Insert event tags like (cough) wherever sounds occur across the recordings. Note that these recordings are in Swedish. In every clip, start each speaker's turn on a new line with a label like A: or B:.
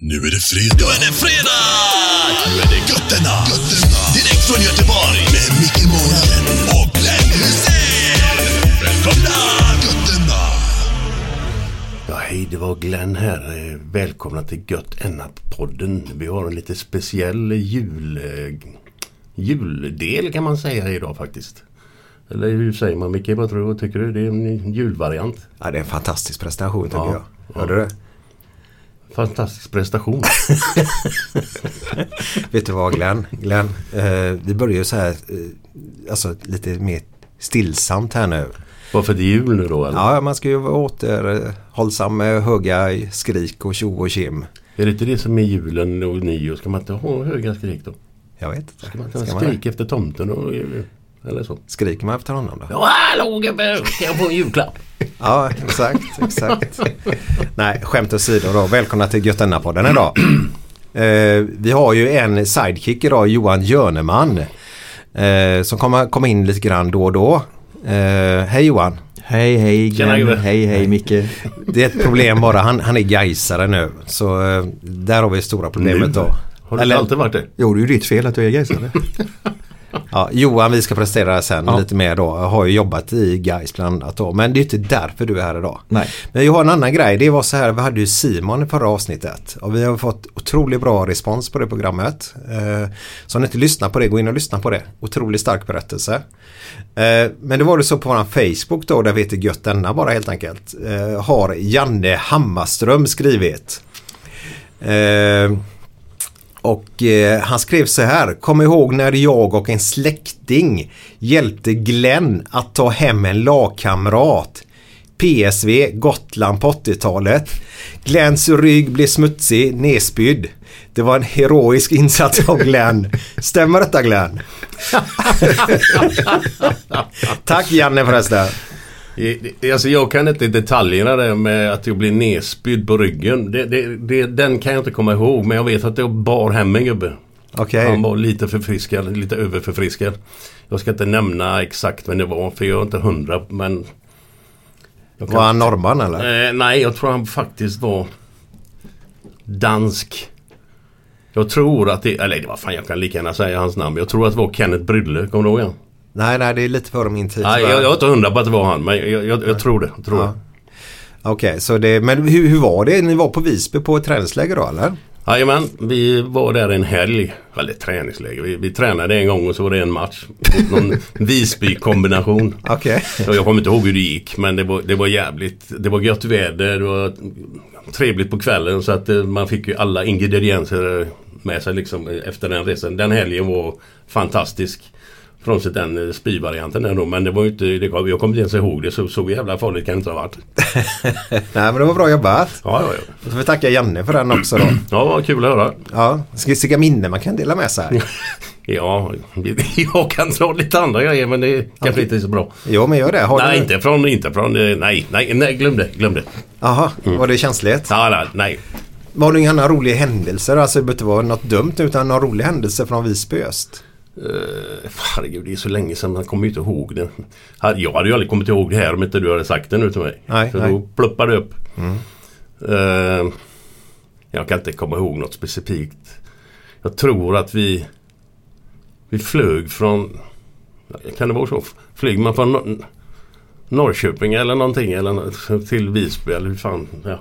A: Nu är det fredag! Nu är det fredag! Nu är det götterna! götterna. Direkt från Göteborg! Med Micke Månaden och Glenn Hysén! Välkomna! Götterna!
B: Ja, hej, det var Glenn här. Eh, Välkomna till Gött Enna-podden. Vi har en lite speciell jul, eh, juldel kan man säga idag faktiskt. Eller hur säger man Micke? Vad tror du? Tycker du? Det är en julvariant.
C: Ja, det är en fantastisk prestation tycker
B: Ja.
C: jag. Hörde du det?
B: Fantastisk prestation.
C: Vet du vad Glenn? Glenn eh, vi börjar ju så här, eh, alltså lite mer stillsamt här nu.
B: Varför det är jul nu då? Eller?
C: Ja, man ska ju vara återhållsam med höga skrik och tjo och kim.
B: Är det inte det som är julen och nyår? Ska man inte ha höga skrik då?
C: Jag vet inte.
B: Ska man inte
C: Ska
B: ha
C: man det?
B: skrik efter tomten och, eller så?
C: Skriker man efter honom då? Ja,
B: Hallå gubben! Kan jag få en julklapp?
C: exakt, exakt. Nej, skämt åsido då. Välkomna till Göttenna-podden idag. Eh, vi har ju en sidekick idag, Johan Jörneman. Eh, som kommer komma in lite grann då och då. Eh, hej Johan!
D: Hej hej
B: Tjena,
D: Glenn,
B: gubbe.
D: hej hej Micke.
C: Det är ett problem bara, han, han är gaisare nu. Så eh, där har vi det stora problemet då.
B: Har du
C: Eller-
B: inte alltid varit det?
D: Jo det är ju ditt fel att du är
B: (laughs)
D: gaisare.
C: Ja, Johan vi ska prestera sen lite mer då. Har ju jobbat i Gais bland annat då. Men det är inte därför du är här idag.
D: Nej.
C: Men jag har en annan grej. Det var så här, vi hade ju Simon i förra avsnittet. Och vi har fått otroligt bra respons på det programmet. Eh, så om ni inte lyssnar på det, gå in och lyssna på det. Otroligt stark berättelse. Eh, men det var det så på vår Facebook då, där vi heter Gött denna bara helt enkelt. Eh, har Janne Hammarström skrivit. Eh, och eh, han skrev så här. Kom ihåg när jag och en släkting hjälpte Glenn att ta hem en lagkamrat. PSV Gotland på 80-talet. Glenns rygg blev smutsig, nedspydd. Det var en heroisk insats av Glenn. Stämmer
B: (laughs)
C: detta Glenn? Tack Janne förresten.
B: I- i- Alltså jag kan inte detaljerna där med att jag blev nedspydd på ryggen. Det, det, det, den kan jag inte komma ihåg men jag vet att jag bar hem en gubbe.
C: Okej.
B: Han var lite förfriskad, lite överförfriskad. Jag ska inte nämna exakt vem det var för jag är inte hundra men... Jag kan-
C: Var han norrman eller?
B: Eh, nej, jag tror han faktiskt var dansk. Jag tror att det, eller vad fan jag kan lika gärna säga hans namn. Jag tror att det var Kenneth Brydle, kommer du ihåg han?
C: Nej, nej det är lite före min tid.
B: Nej,
C: va?
B: jag, jag är inte hundra på att det var han men jag, jag, jag, tror det. Jag tror det.
C: Okej, så det, men hur, hur var det? Ni var på Visby på ett träningsläger då eller?
B: Jajamän, vi var där en helg. Eller träningsläger. Vi, vi tränade en gång och så var det en match. Mot Någon (laughs) Visby-kombination.
C: Okej.
B: Jag, jag kommer inte ihåg hur det gick men det var, det var jävligt. Det var gött väder. Det var trevligt på kvällen så att eh, man fick ju alla ingredienser med sig liksom eh, efter den resan. Den helgen var fantastisk. Frånsett den eh, spyvarianten där då. Men det var ju inte, det, jag kommer inte ens ihåg det. Så, så jävla farligt kan det inte ha varit.
C: Nej men det var bra jobbat.
B: Ja, ja, ja.
C: Då får
B: (clears throat)
C: vi tacka Janne för den också då.
B: Ja, vad kul att höra. (laughs)
C: Ja, ska vi sticka minne man kan dela med sig.
B: Ja, (laughs) jag kan dra lite andra grejer men det kanske inte är så bra.
C: Jo men gör det. Har
B: Nej,
C: du...
B: inte från, inte från, eh, nej, nej, nej, glöm det, glöm det.
C: Aha,
B: Mm.
C: var det känsligt?
B: Nej, nej, nej.
C: Var det inga andra roliga händelser? Alltså det behöver inte vara något dumt utan några roliga händelser från Visby öst.
B: Eh, Herregud, det är så länge sedan man kommer ju inte ihåg det. Här- Jag hade ju aldrig kommit ihåg det här om inte du hade sagt det nu till mig.
C: Nej,
B: så
C: nej. Mm.
B: då ploppade det upp. Eh, jag kan inte komma ihåg något specifikt. Jag tror att vi Vi flög från Kan det vara så? Flyger man från Nor- Norrköping eller någonting eller nå- till Visby eller hur fan? Ja.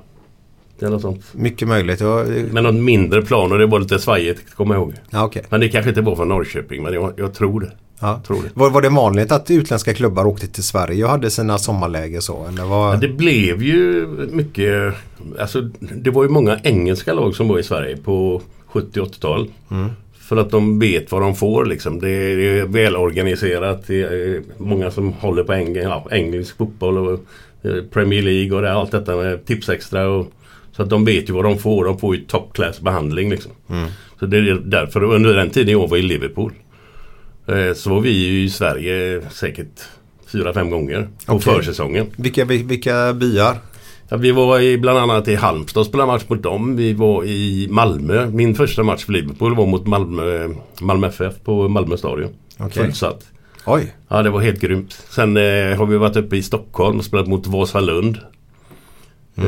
B: Det är något sånt.
C: Mycket möjligt. Jag...
B: Men något mindre plan och det var lite svajigt, kommer jag ihåg.
C: Ja, okej.
B: Men det kanske inte var från Norrköping, men jag, jag tror det.
C: Ja.
B: Tror det.
C: Var, var det vanligt att utländska klubbar åkte till Sverige och hade sina sommarläger så? Eller var...
B: Ja, det blev ju mycket, alltså det var ju många engelska lag som var i Sverige på 70 80-tal. För att de vet vad de får liksom. Det är, det är välorganiserat. Det är eh, många som håller på eng ja, engelsk fotboll och eh, Premier League och det, allt detta med tipsextra. Och, så att de vet ju vad de får. De får ju top class behandling liksom. Så det är därför under den tiden jag var i Liverpool eh, så var vi ju i Sverige säkert fyra, fem gånger på
C: Okej.
B: försäsongen.
C: Vilka, vil- vilka byar?
B: Ja, vi var i, bland annat i Halmstad och spelade match mot dem. Vi var i Malmö. Min första match för Liverpool var mot Malmö, Malmö FF på Malmö stadion.
C: Okej.
B: Fullsatt.
C: Oj,
B: Ja, det var helt grymt. Sen eh, har vi varit uppe i Stockholm och spelat mot Vasalund. Eh,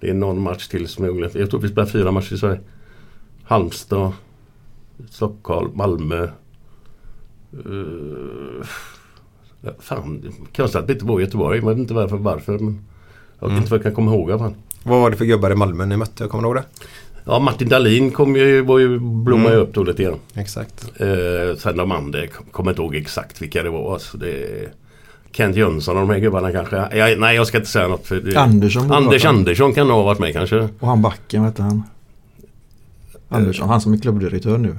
B: det är någon match till som jag glömt. Jag tror vi spelar fyra matcher i Sverige. Halmstad, Stockholm, Malmö. Eh, fan, konstigt att vi inte var i Göteborg. Jag vet inte varför. varför men jag vet inte vad jag kan komma ihåg. i alla fall.
C: vad var det för gubbar i Malmö ni mötte? Kommer du ihåg det?
B: Ja, Martin Dahlin kom ju, var ju, blommade ju upp då lite grann.
C: Exakt.
B: Eh, sen de andra jag kommer inte ihåg exakt vilka det var. Alltså det, Kent Jönsson och de här gubbarna kanske. Jag, nej jag ska inte säga något. För det,
D: Andersson borde
B: Anders
D: varit med.
B: Andersson kan ha varit med kanske.
D: Och han backen, vad hette han? Andersson, han som är klubbdirektör nu.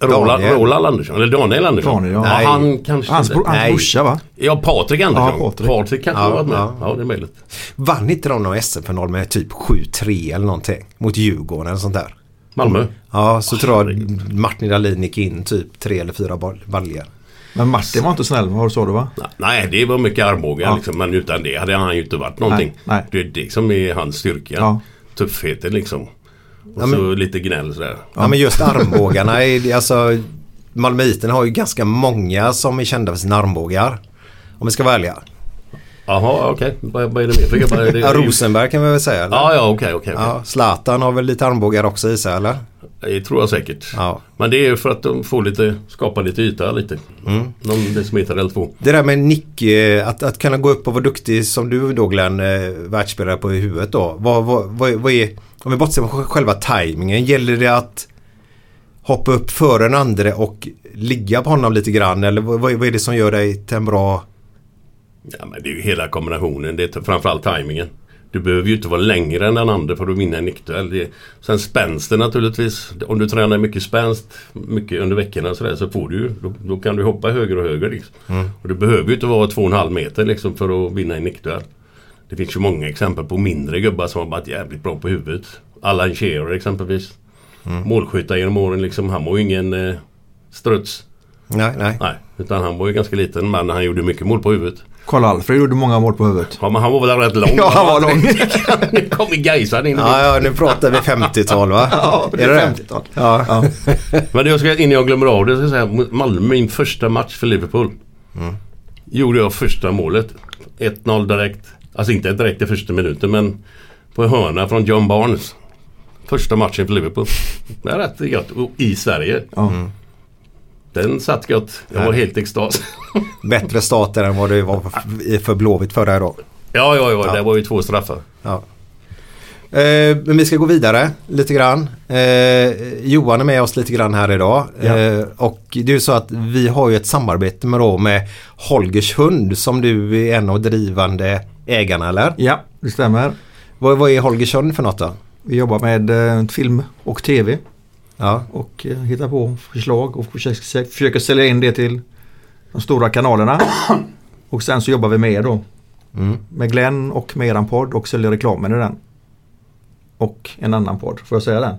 B: Roland,
C: Daniel.
B: Roland Andersson. Eller Daniel Andersson.
D: Daniel, ja.
B: ja.
D: Nej.
B: Han kanske.
D: Hans, bro, hans
B: nej.
D: brorsa va?
B: Ja Patrik Andersson.
D: Ja,
B: Patrik.
D: Patrik.
B: kanske
C: Ja,
B: har varit med. Ja.
C: ja.
B: det är möjligt.
C: Vann inte de någon SM-final med typ 7-3 eller någonting? Mot Djurgården eller sånt där?
B: Malmö.
C: Ja, så tror jag Martin Dahlin gick in typ tre eller fyra bal- baljor.
D: Men Martin var inte snäll, vad sa du va?
B: Nej det var mycket Arboga
D: Ja.
B: liksom. Men utan det hade han ju inte varit någonting.
D: nej.
B: Det är det som är hans styrka.
D: Ja.
B: Tuffheten liksom. Och så lite gnäll sådär.
C: Ja. men just armbågarna, är, det- alltså Malmöiterna har ju ganska många som är kända för sina armbågar. Om vi ska vara ärliga.
B: Jaha okej. Vad vad är det mer för gubbar? Det-
C: Ja, Rosenberg kan vi väl säga? Eller?
B: Ja, ja, okej, okej. okej.
C: Ja, Zlatan har väl lite armbågar också i sig eller?
B: Det tror jag säkert.
C: Ja.
B: Men det är ju för att de får lite, skapa lite yta lite.
C: Mm.
B: Någon decimeter eller två.
C: Det där med nick, eh, att, att kunna gå upp och vara duktig som du då Glenn, eh, världsspelare på huvudet då. Vad, vad, vad, vad är, om vi bortser från själva tajmingen, gäller det att hoppa upp före den andra och ligga på honom lite grann eller vad, vad är- vad är det som gör dig till en bra...
B: Ja, men det är ju hela kombinationen. Det är t- framförallt tajmingen. Du behöver ju inte vara längre än den andra för att vinna en nickduell. Det- Sen spänsten naturligtvis. Om du tränar mycket spänst mycket under veckorna och så, där, så får du ju, då, då kan du hoppa högre och högre. Liksom. Och du behöver ju inte vara två och en halv meter liksom, för att vinna en nickduell. Det finns ju många exempel på mindre gubbar som har varit jävligt bra på huvudet. Allan Shearer exempelvis. Målskyttar genom åren liksom. Han var ju ingen eh, struts.
C: Nej, nej.
B: Nej, utan han var ju ganska liten men han gjorde mycket mål på huvudet.
D: Karl-Alfred gjorde många mål på
C: (laughs)
D: huvudet.
B: Ja, men han var väl rätt lång?
D: Ja, han var lång.
B: (laughs) nu kommer Gaisan in i
C: Ja, ja, nu pratar vi 50-tal va?
D: (laughs) Ja, det är 50-tal.
C: Ja.
D: Ja.
B: Men det jag ska, innan jag glömmer av det, ska jag säga mot Malmö, min första match för Liverpool. Gjorde jag första målet. 1-0 direkt. Alltså inte direkt i första minuten men på hörna från John Barnes. Första matchen för Liverpool. Det är rätt gött. Och I Sverige.
D: Ja.
B: Den satt gött. Jag var helt i extas. (laughs)
C: Bättre stater än vad det var för- i- för Blåvitt förra då.
B: Ja, ja, ja. Det var ju två straffar.
C: Ja. Eh, men vi ska gå vidare lite grann. Eh, Johan är med oss lite grann här idag. Eh, och det är ju så att vi har ju ett samarbete med, då, med Holgers hund som du är en av drivande ägarna eller?
D: ja, det stämmer.
C: Vad, vad är Holgers hund för något då?
D: Vi jobbar med eh, film och tv
C: Ja,
D: och eh, hittar på förslag och försöker, försöker sälja in det till de stora
E: (coughs)
D: kanalerna. Och sen så jobbar vi med er då.
E: Mm.
D: Med Glenn och med eran podd och säljer reklamen i den. Och en annan podd, får jag säga den?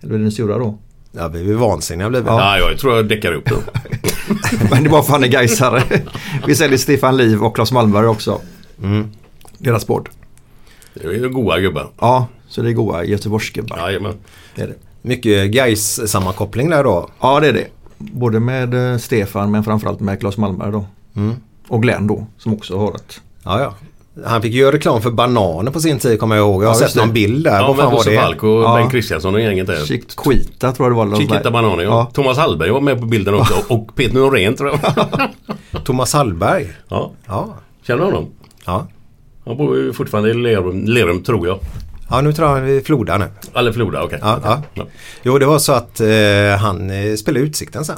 D: Eller blir den sura då?
C: Ja, vi är vansinniga blir vi.
B: Ja.
C: (laughs)
B: jag tror jag däckar upp då.
D: Men det var fan en Gaisare. Vi säljer Stefan Liv och Claes Malmberg också. Deras podd.
B: Det är ju goa gubbar.
D: Ja, så det är goa Göteborgsgubbar.
B: Jajamän.
D: Det är det.
C: Mycket guys sammankoppling där då.
D: Ja, det är det. Både med eh, Stefan men framförallt med Claes Malmberg då. Och Glenn då, som också har ett.
C: Mm. Ja, ja. Han fick ju göra reklam för bananer på sin tid kommer jag ihåg. Jag har
D: Ja,
C: sett
D: just det.
C: någon bild där.
B: Ja,
C: Vad
B: men
C: fan var
B: Bosse
C: det?
B: Falk och
D: Ja.
B: Bengt Kristiansson och gänget där.
D: Chiquita tror jag det var. eller
B: Chiquita
D: något.
B: Banana, ja.
D: Ja.
B: Thomas Hallberg var med på bilden också. Och Peter Norén tror jag. (laughs)
C: Thomas Hallberg.
B: Ja,
C: Ja.
B: känner du honom?
C: ja.
B: Han bor ju fortfarande i Lerum, Lerum tror jag.
C: Ja, nu tror jag vi flodar nu.
B: Eller Floda, okej.
C: Ja, ja.
B: Ja.
C: Jo, det var så att eh, han eh, spelade Utsikten sen.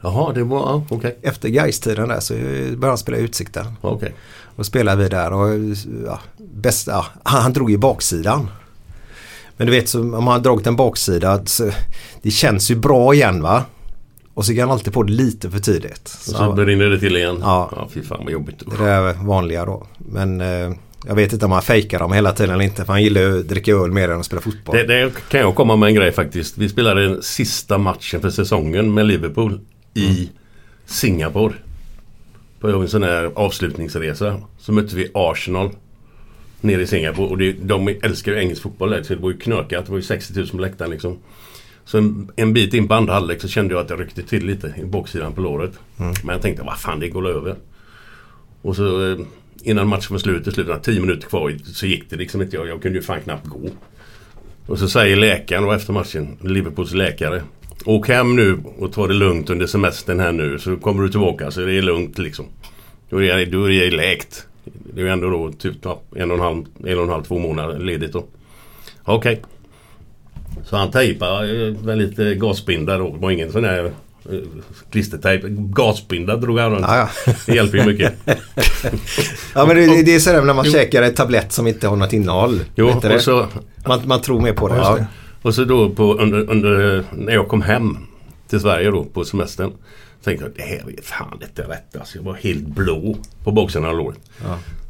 B: Jaha, det var... ja, Okej.
C: Efter Gais-tiden där så eh, började han spela Utsikten.
B: Ja, okej.
C: Och spelade vi där och ja, bäst, ja, han, han drog ju baksidan. Men du vet så, om man har dragit en baksida så, det känns ju bra igen va. Och så gick han alltid på det lite för tidigt. Så
B: Och så brinner det till igen.
C: Ja.
B: ja fy fan vad jobbigt.
C: det är vanliga då. Men eh, jag vet inte om han fejkar dem hela tiden eller inte. För han gillar ju att dricka öl mer än att spela fotboll.
B: Det, det kan jag komma med en grej faktiskt. Vi spelade den sista matchen för säsongen med Liverpool i Singapore. På en sån här avslutningsresa. Så mötte vi Arsenal nere i Singapore. Och det, de älskar ju engelsk fotboll där, så det var ju knökat. Det var ju 60 000 på läktaren liksom. Så en, en bit in på andra halvlek så kände jag att det ryckte till lite i baksidan på låret. Men jag tänkte, vad fan det går över. Och så eh, innan matchen var slut, i slutet, 10 minuter kvar, så gick det liksom inte. Jag, jag kunde ju fan knappt gå. Och så säger läkaren då efter matchen, Liverpools läkare. Åk hem nu och ta det lugnt under semestern här nu så kommer du tillbaka så det är lugnt liksom. Då är det, då är det läkt. Det är ju ändå då typ ja, en och en halv, en och en halv, två månader ledigt då. Ja, Okej. Så han tejpade eh, med lite gasbinda då. Det var ingen sån här eh, klistertejp. Gasbinda drog han runt.
C: Ja, ja.
B: Det hjälper ju mycket.
C: Ja men det, det är sådär när man käkar en tablett som inte har något innehåll.
B: Jo,
C: Vet du det?
B: och så
C: man, man tror mer på det.
B: Ja.
C: (laughs) Ja.
B: Och så då på, under, under, när jag kom hem till Sverige då på semestern. Tänkte jag det här är fan inte rätt alltså. Jag var helt blå på baksidan av låret.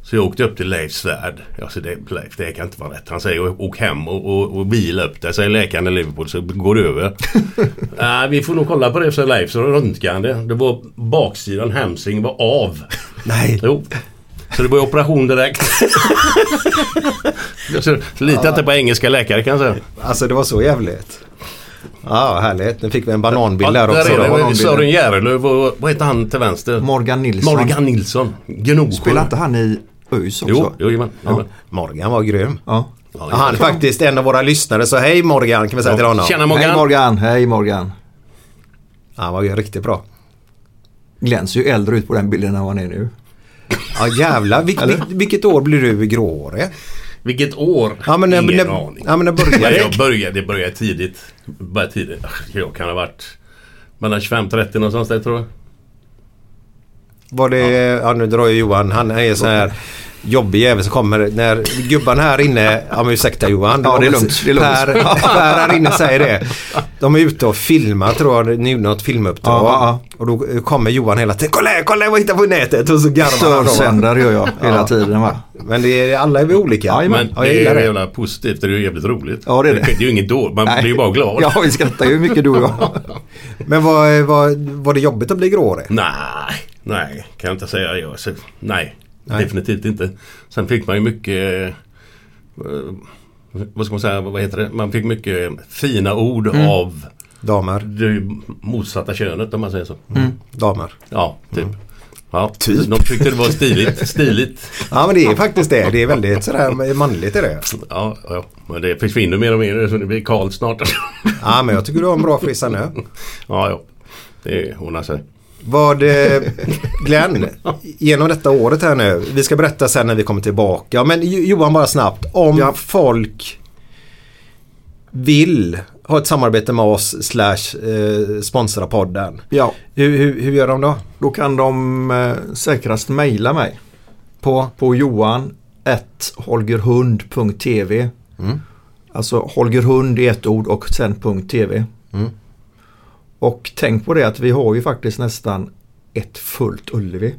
B: Så jag åkte upp till Leif Svärd. Jag sa det, Leif, det här kan inte vara rätt. Han säger åk hem och, och, och vila upp dig. Säger läkaren i Liverpool så går det över. Nej, vi får nog kolla på det, säger Leif. Så röntgade han det. Det var baksidan, hamstring var av.
C: Nej.
B: Jo. Så det var ju operation direkt. så, lita inte på engelska läkare kan jag säga.
C: Alltså det var så jävligt. Ja, härligt. Nu fick vi en bananbild
B: Ja,
C: där också.
B: är det.
C: då.
B: Sören Järrelöv och vad heter han till vänster?
D: Morgan Nilsson.
B: Morgan Nilsson. Gnosjö.
D: Spelar inte han i ÖIS också?
B: Jo, jo jajamän, jajamän.
C: Morgan var grym.
D: Ja.
B: Ja,
C: Han är faktiskt en av våra lyssnare så hej Morgan kan vi säga till honom.
B: Tjena Morgan.
D: Hej Morgan, hej Morgan.
C: Han var ju riktigt bra.
D: Glenn ser ju äldre ut på den bilden än vad han är nu.
C: Ja jävlar. Vil, vil, vilket år blir du gråhårig?
B: Vilket år?
C: Ja men när,
B: Ingen
C: när,
B: aning.
C: ja, men när
B: Ja,
C: började
B: jag började, det började tidigt. Började tidigt. Ach, Jag kan ha varit mellan 25-30 någonstans där tror jag.
C: Var det, ja nu drar ju Johan, han är sån här jobbig jävel som kommer när gubbarna här inne, ja men ursäkta Johan.
D: Ja, det är lugnt, det är lugnt.
C: Per, per här inne säger det. De är ute och filmar tror jag, nu något filmuppdrag.
D: Ja, ja,
C: Och då kommer Johan hela tiden, kolla här, kolla här vad jag hittar på nätet. Och så garvar han. då, va?
D: Sörsändare gör jag hela tiden va.
C: Men det är, alla är vi olika.
D: Ja,
B: Men
D: jajamän.
C: ja, jag
B: det
C: gillar
B: är
C: det.
B: jävla positivt. Det är ju jävligt roligt.
D: Ja, det är det.
B: Det är ju inget dåligt. Man
D: Nej.
B: blir ju bara glad.
D: Ja, vi skrattar ju hur mycket du och jag.
C: (laughs) Men var, var, var det jobbigt att bli gråhårig?
B: Nej, nej, kan jag inte säga. Jag, så, nej, definitivt inte. Sen fick man ju mycket... eh, vad ska man säga, vad heter det? Man fick mycket fina ord
D: Mm.
B: av
C: Damer,
B: det motsatta könet om man säger så.
D: Mm.
C: damer.
B: Ja, typ. Ja,
D: Typ.
B: De tyckte det var stiligt. stiligt.
C: Ja men det är faktiskt det. Det är väldigt sådär manligt är det.
B: Ja, ja, men det försvinner mer och mer så det blir
D: (laughs)
B: kallt snart.
C: Ja men jag tycker du har en bra frissa nu.
B: Ja, ja. Det alltså. ordnar sig.
C: Vad eh, Glenn, genom detta året här nu. Vi ska berätta sen när vi kommer tillbaka. Men Jo- Johan bara snabbt. Om
D: Ja.
C: folk vill ha ett samarbete med oss slash eh, sponsra podden.
D: Ja,
C: Hur, hur, hur gör de då?
D: då kan de eh, säkrast mejla mig
C: På?
D: på johan.holgerhund.tv Alltså Holger Hund i ett ord och sen .tv. Och tänk på det att vi har ju faktiskt nästan ett fullt Ullevi.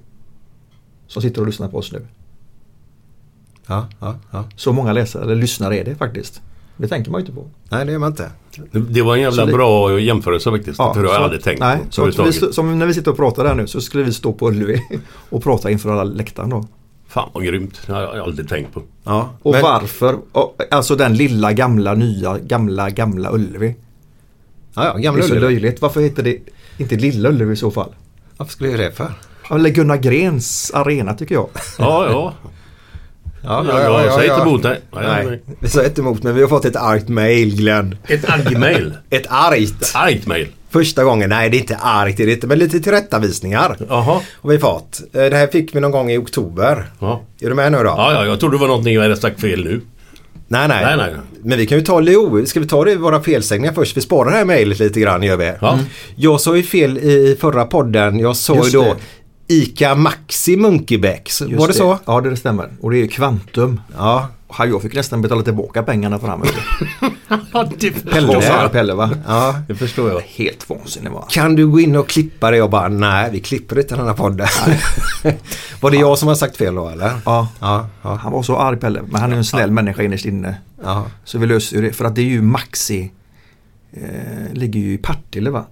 D: Som sitter och lyssnar på oss nu.
C: Ja, ja, ja.
D: Så många läsare, eller lyssnare är det faktiskt. Det tänker man ju inte på.
C: Nej, det gör man inte.
B: Det, det var en jävla
D: Så det-
B: bra jämförelse faktiskt.
D: Ja,
B: för jag har
D: så-
B: aldrig tänkt
D: nej,
B: på
D: så att vi,
B: överhuvudtaget.
D: stå- Som när vi sitter och pratar här nu så skulle vi stå på Ullevi och prata inför alla läktaren då.
B: Fan vad grymt. Det har jag aldrig tänkt på.
C: Ja,
D: Och
C: men-
D: varför? Och, Alltså den lilla gamla nya gamla gamla Ullevi.
C: Ja, ja,
D: Det är
C: Gamla
D: så
C: Ullevi.
D: löjligt. Varför heter det inte Lilla Ullevi i så fall?
C: Varför skulle jag göra det för?
D: Eller Gunnar Grens arena tycker jag.
B: Ja, ja.
C: Ja,
B: ja, jag säger inte emot dig. Nej,
C: Nej,
B: nej.
C: vi säger inte emot men vi har fått ett argt mail Glenn.
B: Ett argmail.
C: Ett argt.
B: (laughs) Argt mail.
C: Första gången, nej det är inte argt, det är det inte, men lite tillrättavisningar.
B: Jaha.
C: Har vi fått. Eh, Det här fick vi någon gång i oktober.
B: Ja.
C: Är du med nu då?
B: Ja, ja, jag trodde det var någonting jag hade sagt fel nu.
C: Nej, nej.
B: Nej, nej, nej.
C: Men vi kan ju ta Leo. Ska vi ta det i våra felsägningar först? Vi sparar det här mejlet lite grann gör vi.
B: Ja. Mm.
C: Jag sa ju fel i förra podden. Jag sa ju
D: Just
C: då
D: det.
C: ICA Maxi Munkebäck. Så- Var det, så?
D: Ja det stämmer. Och det är ju kvantum.
C: Ja.
D: Och jag fick nästan betala tillbaka pengarna för honom.
B: Ja, det
C: Pelle.
B: förstår
D: Pelle.
B: jag.
D: Pelle va?
C: ja.
B: Det förstår jag.
D: Helt vansinnig va?
C: Kan du gå in och klippa det? Jag bara, nej vi klipper inte den här podden. (laughs) var det jag som har sagt fel då eller?
D: Ja.
C: Ja. ja.
D: Han var så arg Pelle. Men han är ju en snäll människa innerst inne.
C: ja.
D: Så vi löser ju det. För att det är ju Maxi. Eh, ligger ju i Partille va?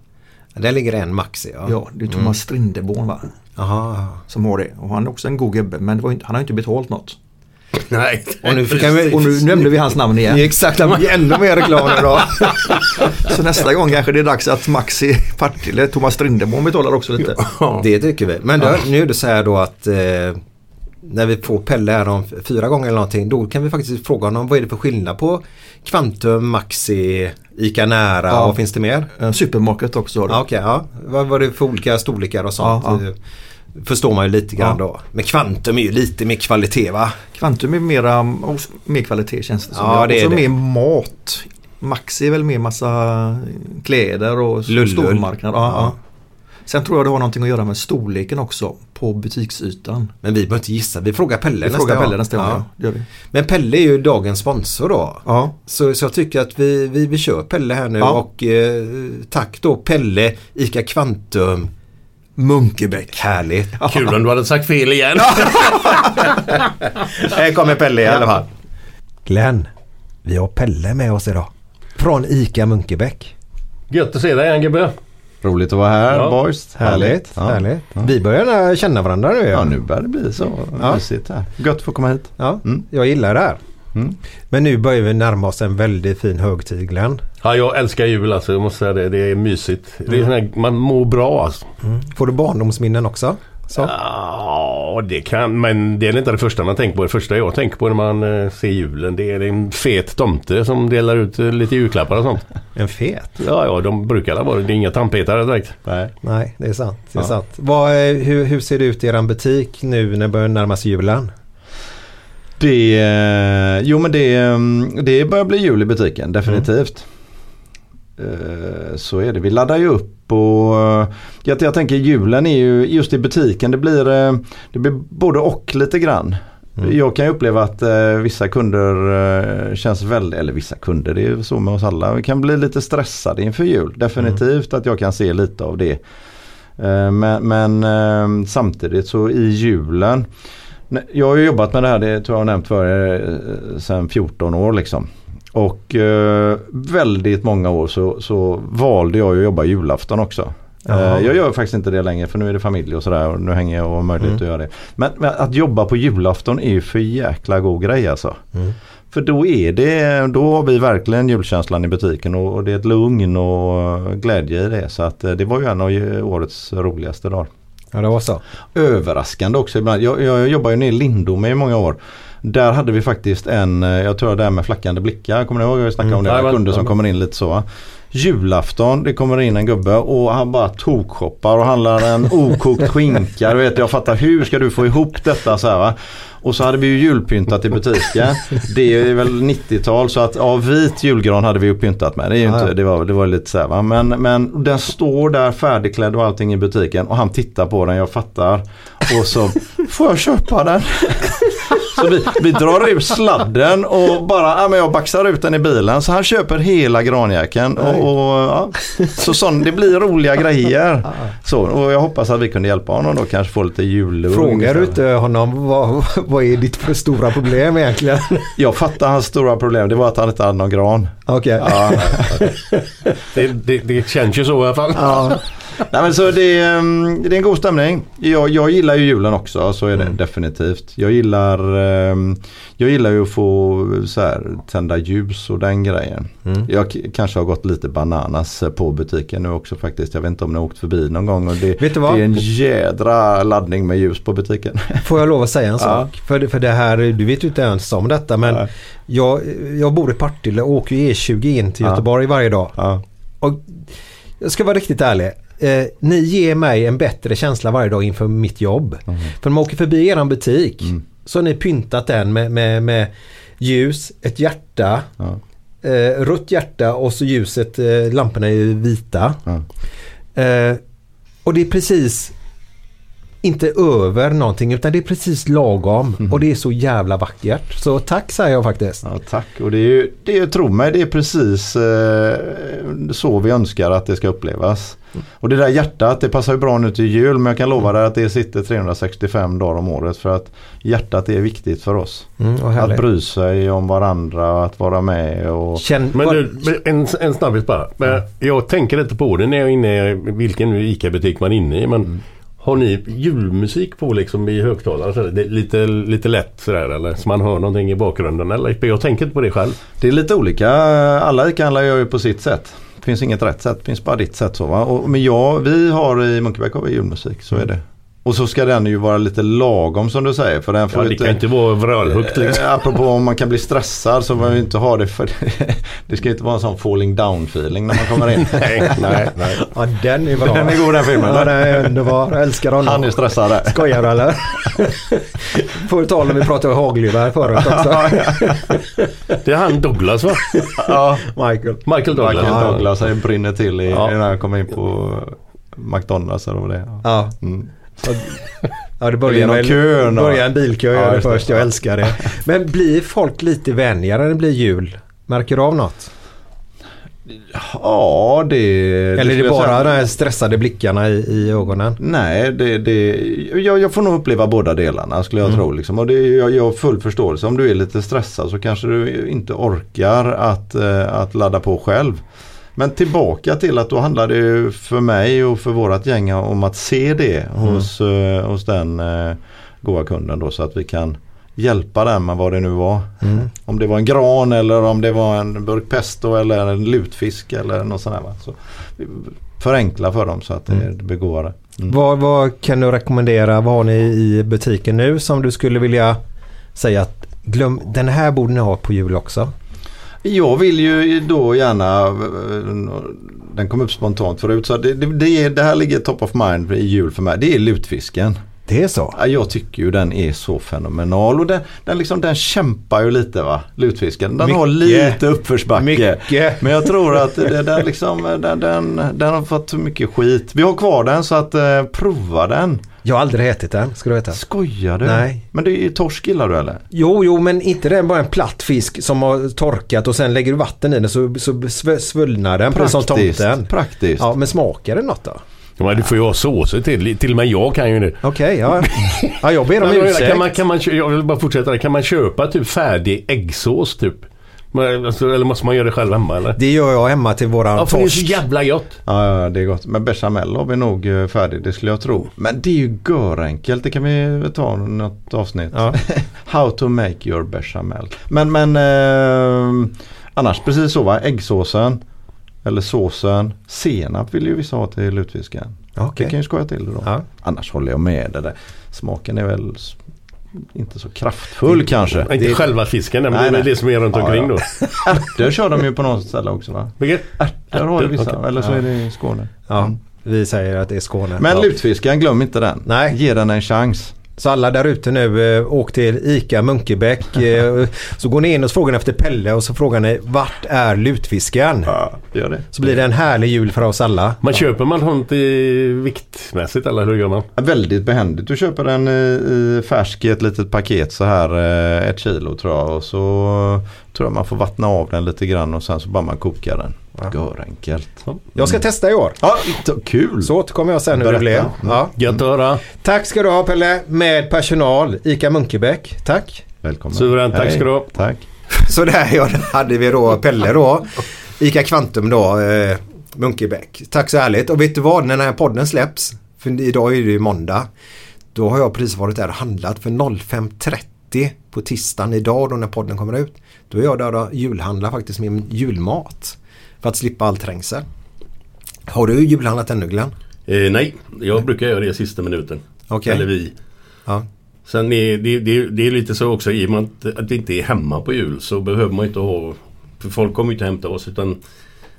C: Där ligger en Maxi ja. Mm.
D: Ja, det är Thomas Strindeborn va?
C: Aha.
D: Som har det. Och han är också en god gubbe. Men det var ju inte, han har ju inte betalt något.
B: Nej.
C: Och nu fick jag
D: Och nu nämnde vi hans namn
C: Ja,
D: igen.
C: Exakt, det blir ännu mer reklam
D: (laughs)
C: idag.
D: Så nästa gång kanske det är dags att Maxi Partille, Thomas Strindeborn betalar också lite.
C: Det tycker vi. Men då, nu är det så här då att eh, när vi får Pelle här om f- fyra gånger eller någonting då kan vi faktiskt fråga honom vad är det för skillnad på Kvantum, Maxi, Ica Nära
D: Ja.
C: och finns det mer?
D: Eh, Supermarket också har du.
C: Ja, Okej, ja. Vad var det för olika storlekar och sånt?
D: Ja, ja.
C: Eh, Förstår man ju lite grann
D: Ja.
C: då. Men Kvantum är ju lite mer kvalitet va?
D: Kvantum är mera, och s- mer kvalitet känns det som.
C: Ja,
D: Och
C: det är
D: så
C: det.
D: mer mat. Maxi är väl mer massa kläder och s-
C: Lullull.
D: stormarknad. Ja,
C: Ja.
D: ja. Sen tror jag det har någonting att göra med storleken också på butiksytan.
C: Men vi behöver inte gissa. Vi frågar Pelle
D: Vi
C: nästa
D: frågar
C: gång.
D: Pelle nästa gång. Ja. det gör vi.
C: Men Pelle är ju dagens sponsor då.
D: Ja.
C: Så, så jag tycker att vi, vi, vi kör Pelle här nu
D: Ja.
C: och eh, tack då Pelle, ICA Kvantum, Munkebäck. Härligt.
B: Kul om du hade sagt fel igen.
C: Här kommer Pelle i alla fall. Glenn, vi har Pelle med oss idag. Från ICA Munkebäck.
B: Gött att se dig igen gubbe.
E: Roligt att vara här
B: Ja.
E: boys.
C: Härligt.
E: Ja.
C: härligt.
E: Ja.
C: Vi börjar lära känna varandra nu.
E: ja, nu börjar det bli så
C: Ja.
E: mysigt här. Gött att få komma hit. Mm.
C: Ja, Jag gillar det här. Men nu börjar vi närma oss en väldigt fin högtid Glenn.
B: Ja, jag älskar jul alltså. Jag måste säga det. Det är mysigt. Det är sån här, man mår bra alltså.
C: Får du barndomsminnen också? Så.
B: Ja, det kan Men det är inte det första man tänker på. Det första jag tänker på när man eh, ser julen det är en fet tomte som delar ut eh, lite julklappar och sånt.
C: En fet.
B: Typ. Ja, ja, de brukar alla vara det. Det är inga tandpetare direkt.
E: Nej.
C: Nej, det är sant. Det är
E: Ja.
C: sant. Vad, eh, hur, hur ser det ut i er butik nu när det börjar närma sig julen?
E: Det, eh, jo men det, eh, det börjar bli jul i butiken, definitivt.
C: Mm.
E: Eh, Så är det. Vi laddar ju upp och eh, jag, jag tänker julen är ju just i butiken. Det blir, eh, det blir både och lite grann.
C: Mm.
E: Jag kan ju uppleva att eh, vissa kunder eh, känns väldigt, eller vissa kunder det är ju så med oss alla, vi kan bli lite stressade inför jul. Definitivt
C: Mm.
E: att jag kan se lite av det. Eh, men men eh, samtidigt så i julen Nej, Jag har ju jobbat med det här, det tror jag har nämnt för er, eh, sedan 14 år liksom. Och eh, väldigt många år så, så valde jag ju att jobba julafton också.
C: Jaha.
E: Eh, jag gör faktiskt inte det längre för nu är det familj och sådär och nu hänger jag och har möjlighet
D: Mm.
E: att göra det. Men, men att jobba på julafton är ju för jäkla god grej alltså. För då är det, då har vi verkligen julkänslan i butiken och, och det är ett lugn och glädje i det. Så att eh, det var ju en av ju- årets roligaste dagar
C: Ja, det var så.
E: överraskande också ibland. Jag, jag jobbar ju nere i Lindome i många år. Där hade vi faktiskt en, eh, jag tror det här med flackande blickar, kommer ni ihåg? Jag snackade om det,
B: Mm.
E: kunder som kommer in lite så. va? Julafton, det kommer in en gubbe och han bara tokshoppar och handlar en okokt skinka. Du vet, jag fattar hur ska du få ihop detta så här va? Och så hade vi ju julpyntat i butiken. Det är väl 90-tal så att ja, vit julgran hade vi ju pyntat med. Det, är ju
C: Ja, ja.
E: inte, det, var, det var lite så här va. Men, men den står där färdigklädd och allting i butiken och han tittar på den, jag fattar. Och så får jag köpa den. Så vi, vi drar ut sladden och bara, ja men jag baxar ut den i bilen. Så han köper hela granjäkeln. Och, och, ja. Så sån, det blir roliga grejer. Så, och jag hoppas att vi kunde hjälpa honom då kanske få lite julur.
C: Frågar du inte honom vad, vad är ditt stora problem egentligen?
E: Jag fattar hans stora problem, det var att han inte hade någon gran.
C: Okej.
E: Ja,
B: Det, det, det känns ju så i alla fall.
C: Ja.
E: (laughs) Nej, men så det, är, mm, det är en god stämning. Jag, jag gillar ju julen också, så är det
C: Mm.
E: definitivt. Jag gillar, ehm, jag gillar ju att få så här, tända ljus och den grejen. Jag k- kanske har gått lite bananas eh, på butiken nu också faktiskt. Jag vet inte om ni har åkt förbi någon gång. Och det,
C: Vet du vad?
E: det är en jädra laddning med ljus på butiken.
C: Får jag lov att säga en
E: Ja.
C: sak? För, det- för det här, du vet ju inte ens om detta men
E: Nej.
C: jag, jag bor i Partille och åker ju E20 in till
E: Ja.
C: Göteborg varje dag.
E: Ja.
C: Och jag ska vara riktigt ärlig. Eh, ni ger mig en bättre känsla varje dag inför mitt jobb.
E: Mhm.
C: För när man åker förbi er butik
E: Mm.
C: så har ni pyntat den med, med, med ljus, ett hjärta,
E: Ja.
C: eh, rött hjärta och så ljuset, eh, lamporna är ju vita. Eh, och det är precis inte över någonting utan det är precis lagom och det är så jävla vackert. Så tack säger jag faktiskt.
E: Mhm. Ja, tack. Och det är ju, det är, tro mig, det är precis eh, så vi önskar att det ska upplevas. Och det där hjärtat, det passar ju bra nu till jul men jag kan lova dig att det sitter 365 dagar om året för att hjärtat är viktigt för oss.
C: Mm, vad härligt.
E: att bry sig om varandra, att vara med och...
C: Känn,
B: Men
C: bara-
B: du, men en, en snabbis bara. Men Jag tänker lite på det när jag är inne i vilken ICA-butik man är inne i. Men Har ni julmusik på liksom i högtalare? Så där? Det är Lite, lite lätt sådär eller? Så man hör någonting i bakgrunden eller? Jag tänker inte på det själv.
E: Det är lite olika. Alla ICA-handlare gör ju på sitt sätt. Det finns inget rätt sätt, det finns bara ditt sätt. Så, va? Och, men jag, vi har i Munkebäck har vi julmusik, så är det.
B: Mm.
E: Och så ska den ju vara lite lagom som du säger. För den får
B: Ja, det kan inte vara vrölhögt liksom.
E: Eh, Apropå om man kan bli stressad så behöver vi inte ha det för det ska ju inte vara en sån falling down feeling när man kommer
C: (laughs)
E: in.
B: Nej, nej, nej.
C: Ja den är bra.
E: Den är god, den filmen.
C: Ja, den är underbar. Jag älskar honom.
E: Han är stressad där.
C: Skojar
E: (laughs)
C: du eller? Får tal om vi pratade om hagelgevär förut också.
B: Det är han Douglas
E: (laughs)
B: va?
E: Ja,
C: (laughs) Michael.
B: Michael Douglas.
E: Michael
B: Ja.
E: Douglas han brinner till i,
B: Ja.
E: när han kommer in på McDonalds eller vad det är.
C: Ja.
E: Mm.
C: ja, det
E: Det är
C: börjar
E: någon
C: väl-
E: kö, nå.
C: börjar en
E: Ja,
C: bilkö gör det
E: just det.
C: först. Jag älskar det. Men blir folk lite vänligare när det blir jul? Märker du av något?
E: Ja, det...
C: Eller är
E: skulle
C: det
E: jag
C: bara
E: säga-
C: de här stressade blickarna i, i ögonen?
E: Nej, det, det, jag, jag får nog uppleva båda delarna skulle jag tro. Liksom. Och det, jag, jag har full förståelse. Om du är lite stressad så kanske du inte orkar att, eh, att ladda på själv. Men tillbaka till att då handlar det ju för mig och för vårat gäng om att se det hos, eh, hos den eh, goda kunden då så att vi kan hjälpa den med vad det nu var. Om det var en gran eller om det var en burk pesto eller en lutfisk eller något sånt där. Va? Så, vi förenkla för dem så att det Mm. det begår det.
C: Mm. Vad, vad kan du rekommendera? Vad har ni i butiken nu som du skulle vilja säga att glöm, den här borde ni ha på jul också?
E: Jag vill ju då gärna, eh, den kom upp spontant förut, så det, det, det, är- det här ligger top of mind i jul för mig. Det är lutfisken.
C: Det är så?
E: Ja, Jag tycker ju den är så fenomenal och den, den, liksom, den kämpar ju lite va, lutfisken. Den har
C: Mycket.
E: lite uppförsbacke.
C: Mycket.
E: Men jag tror att det, den, liksom, eh, den, den, den har fått så mycket skit. Vi har kvar den så att eh, prova den.
C: Jag har aldrig ätit den, ska du veta.
E: Skojar du?
C: Nej.
E: Men det är ju torsk gillar du eller?
C: Jo, jo, men inte den bara en platt fisk som har torkat och sen lägger du vatten i den så, så sv- svullnar den precis som
E: Praktiskt,
C: tomten.
E: praktiskt.
C: Ja, men smakar den något då?
B: Ja, men du får ju ha såser till. Till och med jag kan ju det.
C: Okej, ja. ja. Jag
E: (laughs)
C: ber om
B: Men,
C: ursäkt.
B: kan man, kan man, kö- jag vill bara fortsätta där. Kan man köpa typ färdig äggsås typ? Men, alltså, eller måste man göra det själv hemma eller?
C: Det gör jag hemma till våran
B: Ja, för det är så
C: torsk.
B: jävla gott.
E: Ja, ja, det är gott. Men bechamel har vi nog eh, färdig, det skulle jag tro. Men det är ju görenkelt, det kan Eh, vi väl ta något avsnitt.
C: Ja.
E: How to make your bechamel. Men, men eh, annars precis så va, äggsåsen eller såsen. Senap vill ju vissa ha till lutfisken.
C: Okej.
E: Det kan ju skoja till det då.
C: Ja.
E: Annars håller jag med dig. där. Smaken är väl s- inte så kraftfull kanske.
B: Inte själva fisken men
E: Nej,
B: det är väl
E: nej.
B: det som är runt
E: Ja,
B: omkring
E: ja.
B: då.
E: Ärtor kör de ju på något ställe också va?
B: Vilket?
E: Där har ju vissa,
B: Okej.
E: eller så är det i Skåne.
C: Ja, vi säger att det är Skåne.
E: Men
C: ja.
E: lutfisken, glöm inte den.
C: Nej.
E: Ge den en chans.
C: Så alla där ute nu, eh, åk till
E: (laughs)
C: ICA Munkebäck. Eh, så går ni in och så frågar ni efter Pelle och så frågar ni vart är lutfiskaren?
B: Ja, gör det.
C: Så blir det en härlig jul för oss alla.
B: Man köper man sånt i viktmässigt eller hur gör man?
E: Väldigt behändigt. Du köper den i, i färsk i ett litet paket så här eh, ett kilo tror jag. Och så tror jag man får vattna av den lite grann och sen så bara man kokar den. Görenkelt.
C: Jag ska testa i år.
E: Mm. Ja, t- kul!
C: Så återkommer jag sen hur det blev.
E: Berätta.
C: Ja.
B: Gött att höra.
C: Tack ska du ha Pelle med personal ICA Munkebäck. Tack.
E: Välkommen.
B: Suveränt, tack
E: Hej.
B: ska du ha.
E: Tack.
C: Så där (laughs) ja, där hade vi då Pelle då. ICA Kvantum då. Eh, Munkebäck. Tack så härligt. Och vet du vad? När den här podden släpps. För idag är det ju måndag. Då har jag precis varit där och handlat för 05.30 på tisdagen idag då när podden kommer ut. Då är jag där och julhandlar faktiskt min julmat. För att slippa all trängsel. Har du julhandlat ännu Glenn?
B: Eh, nej, jag brukar göra det i sista minuten.
C: Okej.
B: Eller vi.
C: Ja.
B: Sen är det, det, det är lite så också i och med att- att vi inte är hemma på jul så behöver man ju inte ha... För folk kommer ju inte hämta oss utan...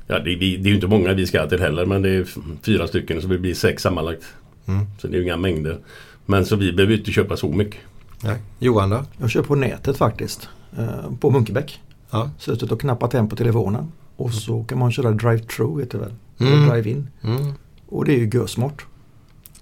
B: Ja, det, vi, det är ju inte många vi ska till heller men det är f- fyra stycken så det blir sex sammanlagt.
C: Mm.
B: Så det är ju inga mängder. Men så vi behöver ju inte köpa så mycket.
C: Nej. Johan då?
D: Jag kör på nätet faktiskt. eh, På Munkebäck.
C: Ja.
D: Suttit och knappat hem på telefonen. Och så kan man köra drive-through heter det väl.
C: Mm.
D: Eller drive-in. Och det är ju görsmart.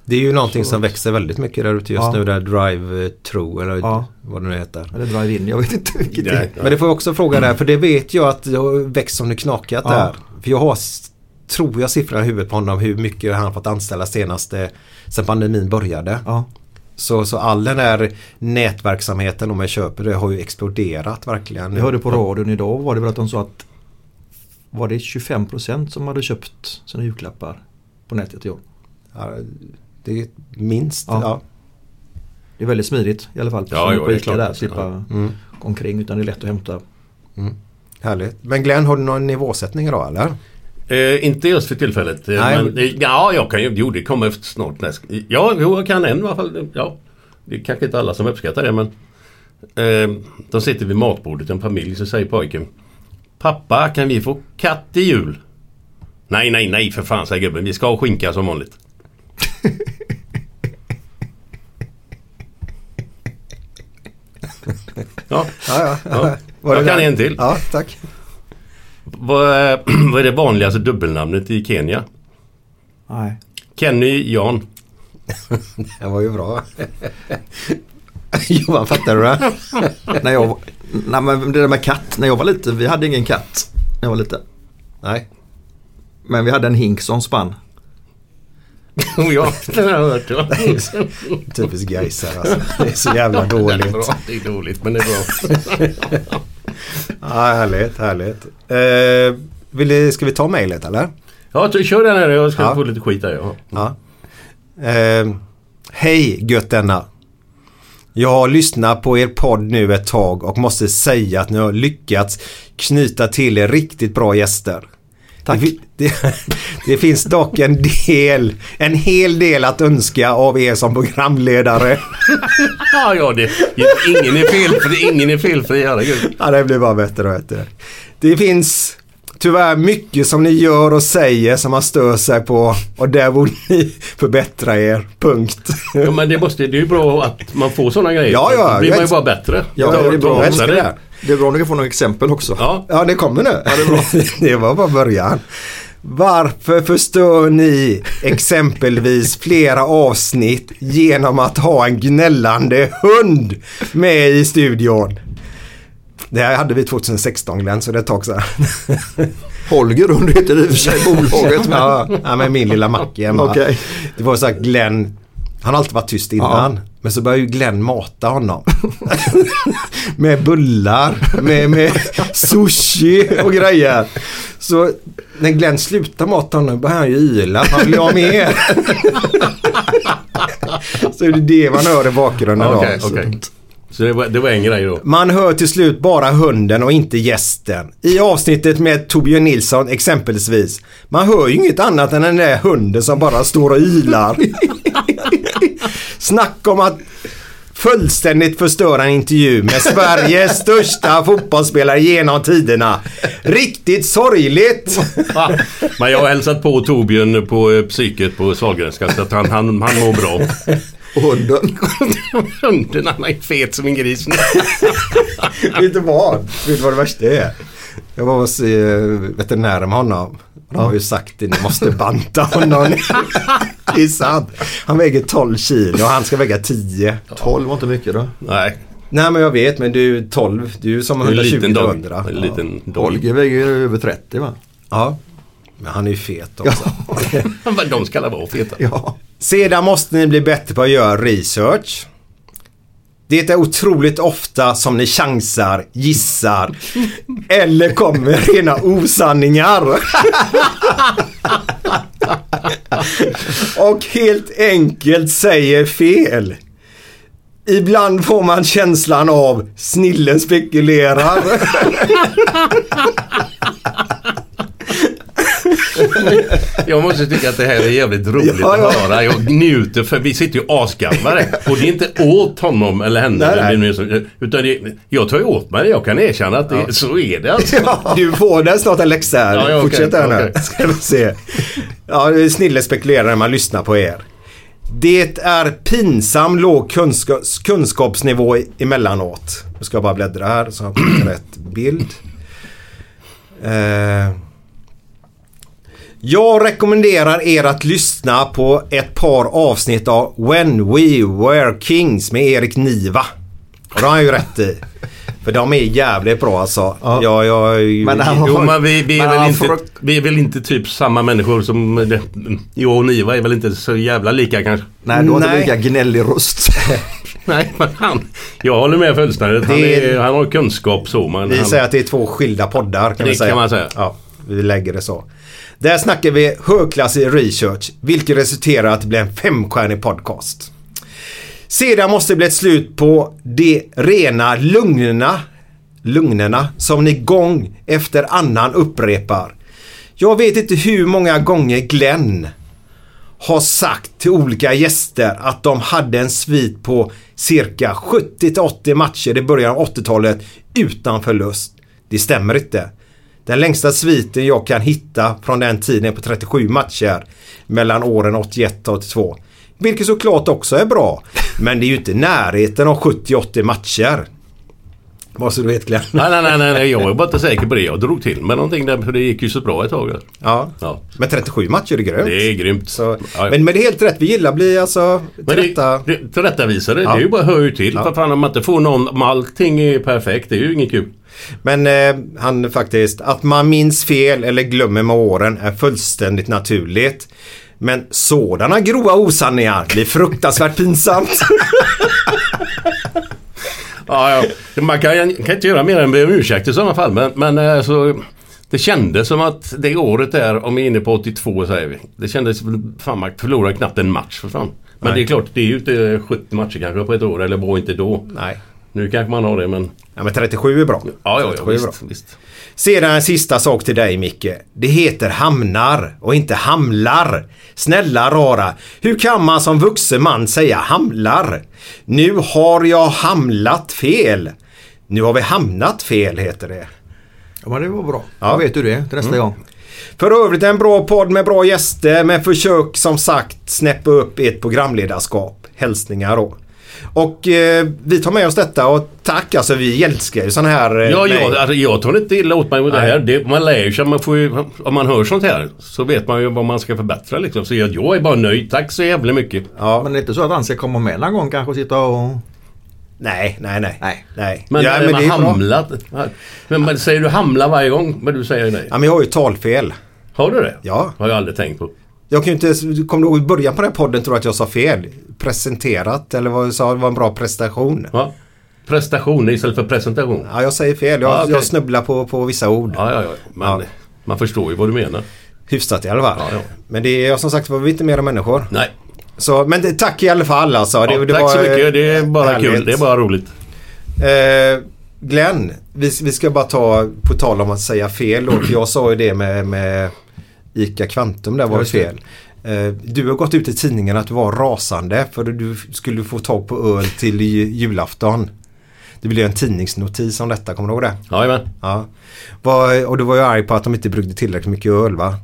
C: Det är ju någonting
D: Så-
C: som växer väldigt mycket där ute just
D: Ja.
C: nu. Där drive through eller
D: Ja.
C: vad det nu heter.
D: Eller drive-in, jag vet inte vilket det är.
C: Men det får jag också fråga där. För det vet jag att jag växt som det knakat
D: Ja.
C: där. För jag har, s- tror jag siffran i huvudet på honom hur mycket han fått anställa senaste sen pandemin började.
D: Ja.
C: Så, så all den där nätverksamheten om jag köper det har ju exploderat verkligen.
D: Jag hörde på radion idag var det väl att de sa att var det 25% som hade köpt sina julklappar på nätet i år.
C: Ja, det är minst. Ja.
D: Ja. Det är väldigt smidigt i alla fall.
B: Ja,
D: som
B: jo,
D: på
B: det är
D: Ica
B: klart. Mm.
D: Där, slippa gå omkring utan det är lätt att hämta.
C: Härligt. Men Glenn, har du någon nivåsättning idag eller?
B: Eh, inte just för tillfället. Eh,
C: Nej.
B: Men, eh, ja, jag kan ju... Jo, det kommer efter snart näst. Ja, jo, jag kan en i alla fall. Ja. Det är kanske inte alla som uppskattar det men... Eh, de sitter vid matbordet, en familj, så säger pojken Pappa, kan vi få katt i jul? Nej, nej, nej för fan, säger gubben. Vi ska ha skinka som vanligt. (laughs) ja,
C: Ja, ja.
B: ja.
C: Var
B: jag
C: det
B: kan
C: där?
B: en till.
C: Ja, tack.
B: Vad, (clears throat) är- vad är det vanligaste dubbelnamnet i Kenya?
D: Nej.
B: Kenny Jan.
C: Det var ju
D: (laughs)
C: bra. Johan, fattar
B: (laughs)
C: du det?
D: när jag, var- nej men det där med katt, när jag var liten, vi hade ingen katt när jag var liten.
C: Nej.
D: Men vi hade en hink som
B: (laughs)
D: spann.
B: Jo, ja, den har jag hört.
D: (laughs)
B: ja.
C: Typiskt Gaisar alltså. Det är så jävla dåligt.
B: Bra, (laughs) Det är dåligt, men det är bra.
C: Ja, härligt, härligt. Eh, vill du, ska vi ta mejlet eller?
B: (laughs) Ja, så kör den här. Jag ska
C: Ja.
B: få lite skit här. Ja.
C: Ja. Eh, Hej götterna. Jag har lyssnat på er podd nu ett tag och måste säga att ni har lyckats knyta till er riktigt bra gäster. Tack. Det, fi- (laughs) det, det finns dock en del, en hel del att önska av er som programledare. (laughs)
B: Ja, ja, det, ingen är felfri. Ingen är felfri, herregud.
C: Ja, det blir bara bättre och bättre. Det finns tyvärr mycket som ni gör och säger som man stör sig på och där borde ni förbättra er. Punkt. (laughs)
B: Ja, men det, måste, det är ju bra att man får sådana grejer.
C: Ja, ja,
B: Då blir
C: jag
B: man ju
C: älskar-
B: bara bättre.
C: Ja,
B: Då-
C: det är
B: då
C: bra. Jag
B: fixar
C: älskar
B: det.
C: det här.
D: Det är bra om du kan få några exempel också.
B: Ja,
C: Ja, det kommer nu. (laughs) det, var bara början. Varför förstör ni exempelvis flera avsnitt genom att ha en gnällande hund med i studion? Det här hade vi 2016 Glenn, så det är ett tag sedan. (laughs)
D: Holger Rund heter i och för sig bolaget. Men...
C: ja, ja, men min lilla Mackie hemma.
D: Okej.
C: Det var så här Glenn, han har alltid varit tyst innan. Men så började ju Glenn mata honom. (laughs) med bullar, med, med sushi och grejer. Så när Glenn slutar mata honom börjar han ju yla. Han vill ju ha mer. (laughs) så det är det man hör i bakgrunden då.
B: okej, okej. Så det var, det var en grej då.
C: Man hör till slut bara hunden och inte gästen. I avsnittet med Torbjörn Nilsson exempelvis. Man hör ju inget annat än den där hunden som bara står och ylar. Snack om att fullständigt förstöra en intervju med Sveriges största fotbollsspelare genom tiderna. Riktigt sorgligt!
B: Ah, men jag har hälsat på Torbjörn på eh, psyket på Sahlgrenska så att han, han, han mår bra.
D: Och hunden.
B: Hunden han är fet som en gris.
C: Vet du vad? Vet du vad det värsta är? Jag var hos eh, veterinären med honom. De har ju sagt att ni måste banta honom. det är sant. Han väger 12 kilo och han ska väga 10.
D: 12 var inte mycket då.
B: Nej,
C: Nej men jag vet men du är 12. Du är som
B: det är en
C: 120
B: liten
C: till
B: dog.
C: 100.
B: En liten dog.
D: Holger väger ju över 30 va?
C: Ja. Men han är ju fet också.
B: Vad de ska alla vara feta.
D: Ja.
C: Sedan måste ni bli bättre på att göra research. Det är otroligt ofta som ni chansar, gissar eller kommer med rena osanningar. Och helt enkelt säger fel. Ibland får man känslan av snillen spekulerar.
B: Jag måste tycka att det här är jävligt roligt
C: Ja, ja.
B: att höra. Jag njuter för vi sitter ju asgarvade. Och det är inte åt honom eller henne.
C: Nej,
B: eller
C: nej.
B: vem det är som- Utan det, jag tar ju åt mig det. Jag kan erkänna att det, så är det
C: (laughs)
B: alltså.
C: Du får den snart en läxa här.
B: Ja, ja, okej,
C: Fortsätt här nu.
B: okej.
C: (laughs) Ska vi se. Ja, snille spekulerar när man lyssnar på er. Det är pinsam låg kunskaps kunskapsnivå i- emellanåt. Nu ska jag bara bläddra här så jag får rätt bild. Eh, jag rekommenderar er att lyssna på ett par avsnitt av When We Were Kings med Erik Niva. Och det har han ju rätt i. För de är jävligt bra alltså.
D: Ja.
C: Jag, jag är ju...
D: Men han-
B: Jo men vi, vi, är
D: Men
B: väl
D: han
B: inte,
D: får-
B: vi är väl inte typ samma människor som... eh, Jag och Niva är väl inte så jävla lika kanske.
D: Nej, du har inte
C: Nej.
D: lika gnällig röst.
B: Nej men han... Jag håller med fullständigt. Han,
C: Det är-
B: är, han har kunskap så men...
C: Vi
B: han,
C: säger att det är två skilda poddar kan
B: Det
C: vi säga.
B: kan man säga.
C: Ja, vi lägger det så. Där snackar vi högklassig research, vilket resulterar att det blir en femstjärnig podcast. Sedan måste det bli ett slut på de rena lugnerna, lugnerna som ni gång efter annan upprepar. Jag vet inte hur många gånger Glenn har sagt till olika gäster att de hade en svit på cirka 70-80 matcher i början av 80-talet utan förlust. Det stämmer inte. Den längsta sviten jag kan hitta från den tiden är på 37 matcher mellan åren 81 och 82. Vilket såklart också är bra. Men det är ju inte i närheten av 70-80 matcher. Vad så du vet Glenn.
B: Nej, nej, nej, nej, nej, jag är bara inte säker på det. Jag drog till med någonting där för det gick ju så bra ett tag. alltså.
C: Ja.
B: Ja.
C: Men 37 matcher är grymt.
B: Det är grymt.
C: Så,
B: Ja, ja.
C: men, men det är helt rätt. Vi gillar att bli alltså
B: Men
C: tillrätta...
B: det, det, tillrättavisare, det är ju bara hör ju till. För fan om man inte får någon, om allting är perfekt, det är ju inget kul.
C: Men eh, han faktiskt, att man minns fel eller glömmer med åren är fullständigt naturligt. Men sådana grova osanningar blir fruktansvärt pinsamt. (laughs)
B: Ja, ja. Man kan, kan inte göra mer än be om ursäkt i sådana fall. Men, men eh, så, det kändes som att det året där, om vi är inne på 82 säger vi. Det kändes, fan man förlorade knappt en match för fan. Men det är klart, det är ju inte 70 matcher kanske på ett år, eller var inte då.
C: Nej.
B: Nu kanske man har det men...
C: Ja, men 37 är bra.
B: Ja, ja, ja
C: 37 är bra.
B: visst, visst.
C: Sedan en sista sak till dig Micke. Det heter hamnar och inte hamlar. Snälla rara, hur kan man som vuxen man säga hamlar? Nu har jag hamlat fel. Nu har vi hamnat fel heter det. Mm.
D: Ja, men det var bra. Då vet du det till nästa gång.
C: För övrigt en bra podd med bra gäster men försök som sagt snäppa upp ert programledarskap. Hälsningar då. Och eh, vi tar med oss detta och tack alltså vi älskar ju sån här... eh,
B: Ja,
C: mejl.
B: jag, alltså, jag tar inte illa åt mig mot det
C: Nej.
B: här. Det, man lär ju sig. Man får ju, om man hör sånt här så vet man ju vad man ska förbättra liksom. Så jag, jag är bara nöjd. Tack så jävla mycket.
D: Ja. Men det är inte så att han ska komma med någon gång kanske och sitta och...
C: Nej, nej, nej.
D: Nej.
C: nej.
B: Men,
C: ja,
B: men man
C: det är bra.
B: hamlat. Men, men säger du hamla varje gång? Men du säger nej.
C: Ja, men jag har ju talfel.
B: Har du det?
C: Ja.
B: Har jag aldrig tänkt på.
C: Jag kan ju inte... Kommer du ihåg i början på den här podden tror jag att jag sa fel? Presenterat eller vad jag sa, det var en bra prestation.
B: Ja. Prestation istället för presentation.
C: Ja, jag säger fel. Jag,
B: Ja, okej.
C: jag snubblar på, på vissa ord.
B: Ja, ja, ja. Men
C: Ja.
B: man förstår ju vad du menar.
C: Hyfsat i alla fall.
B: Ja, ja.
C: Men det är jag som sagt var vi är inte mera människor.
B: Nej.
C: Så, men det, tack i alla fall alltså.
B: Ja,
C: Det- det
B: tack så
C: var, eh,
B: mycket. Det är bara kul.
C: härligt.
B: Det är bara roligt.
C: Eh, Glenn, vi, vi ska bara ta, på tal om att säga fel och jag sa ju det med, med ICA Kvantum där var ju
D: Just det.
C: fel. Eh, du har gått ut i tidningen att du var rasande för att du skulle få tag på öl till ju- julafton. Det blev ju en tidningsnotis om detta, kommer du ihåg det?
B: Jajamän.
C: Ja. Vad- Och du var ju arg på att de inte bryggde tillräckligt mycket öl va?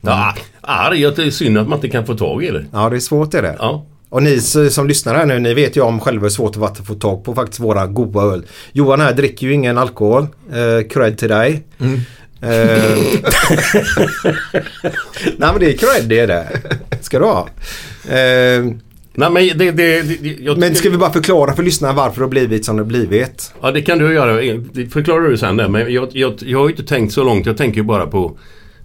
B: Ja, arg. att Det är synd att man inte kan få tag i det.
C: Ja, det är svårt är det.
B: Ja.
C: Och ni s- som lyssnar här nu, ni vet ju om själva hur svårt det var att få tag på faktiskt våra goda öl. Johan här dricker ju ingen alkohol. Eh, cred till dig. Eh, (laughs) Nej men det är cred det är det. Ska du ha. Eh,
B: Nej men det... det, det jag,
C: men ska vi bara förklara för lyssnarna varför det har blivit som det har blivit?
B: Ja det kan du göra. Det förklarar du sen där. Men jag, jag, jag har ju inte tänkt så långt. Jag tänker ju bara på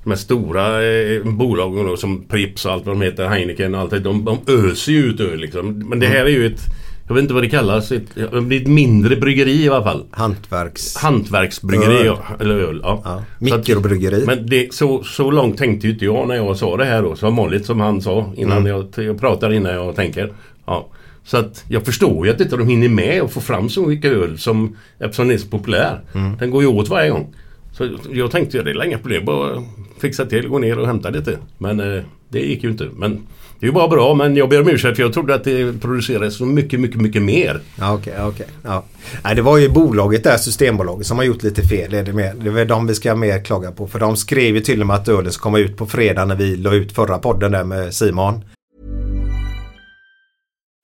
B: de här stora eh, bolagen då, som Pripps och allt vad de heter. Heineken och allt det. De, de öser ju ut öl liksom. Men det här är ju ett... Jag vet inte vad det kallas. Ett, det är ett mindre bryggeri i alla fall.
C: Hantverks...
B: Hantverksbryggeri.
C: Öl.
B: Ja. Eller öl. Ja.
C: Ja,
B: Så att-
C: mikrobryggeri.
B: Men det, så, så långt tänkte ju inte jag när jag sa det här då. Som vanligt som han sa innan
C: Mm.
B: jag, jag pratar innan jag tänker. Ja. Så att jag förstår ju att inte de hinner med att få fram så mycket öl som eftersom den är så populär.
C: Mm.
B: Den går ju åt varje gång. Så jag tänkte ju det är inga problem. Bara fixa till, gå ner och hämta lite. Men eh, det gick ju inte. Men det är ju bara bra. Men jag ber om ursäkt för jag trodde att det producerades så mycket, mycket, mycket mer.
C: Ja, okej. okej. ja. Nej, det var ju bolaget där, Systembolaget, som har gjort lite fel. Är det, med? det är väl de vi ska mer klaga på. För de skrev ju till och med att ölen ska komma ut på fredag när vi la ut förra podden där med Simon.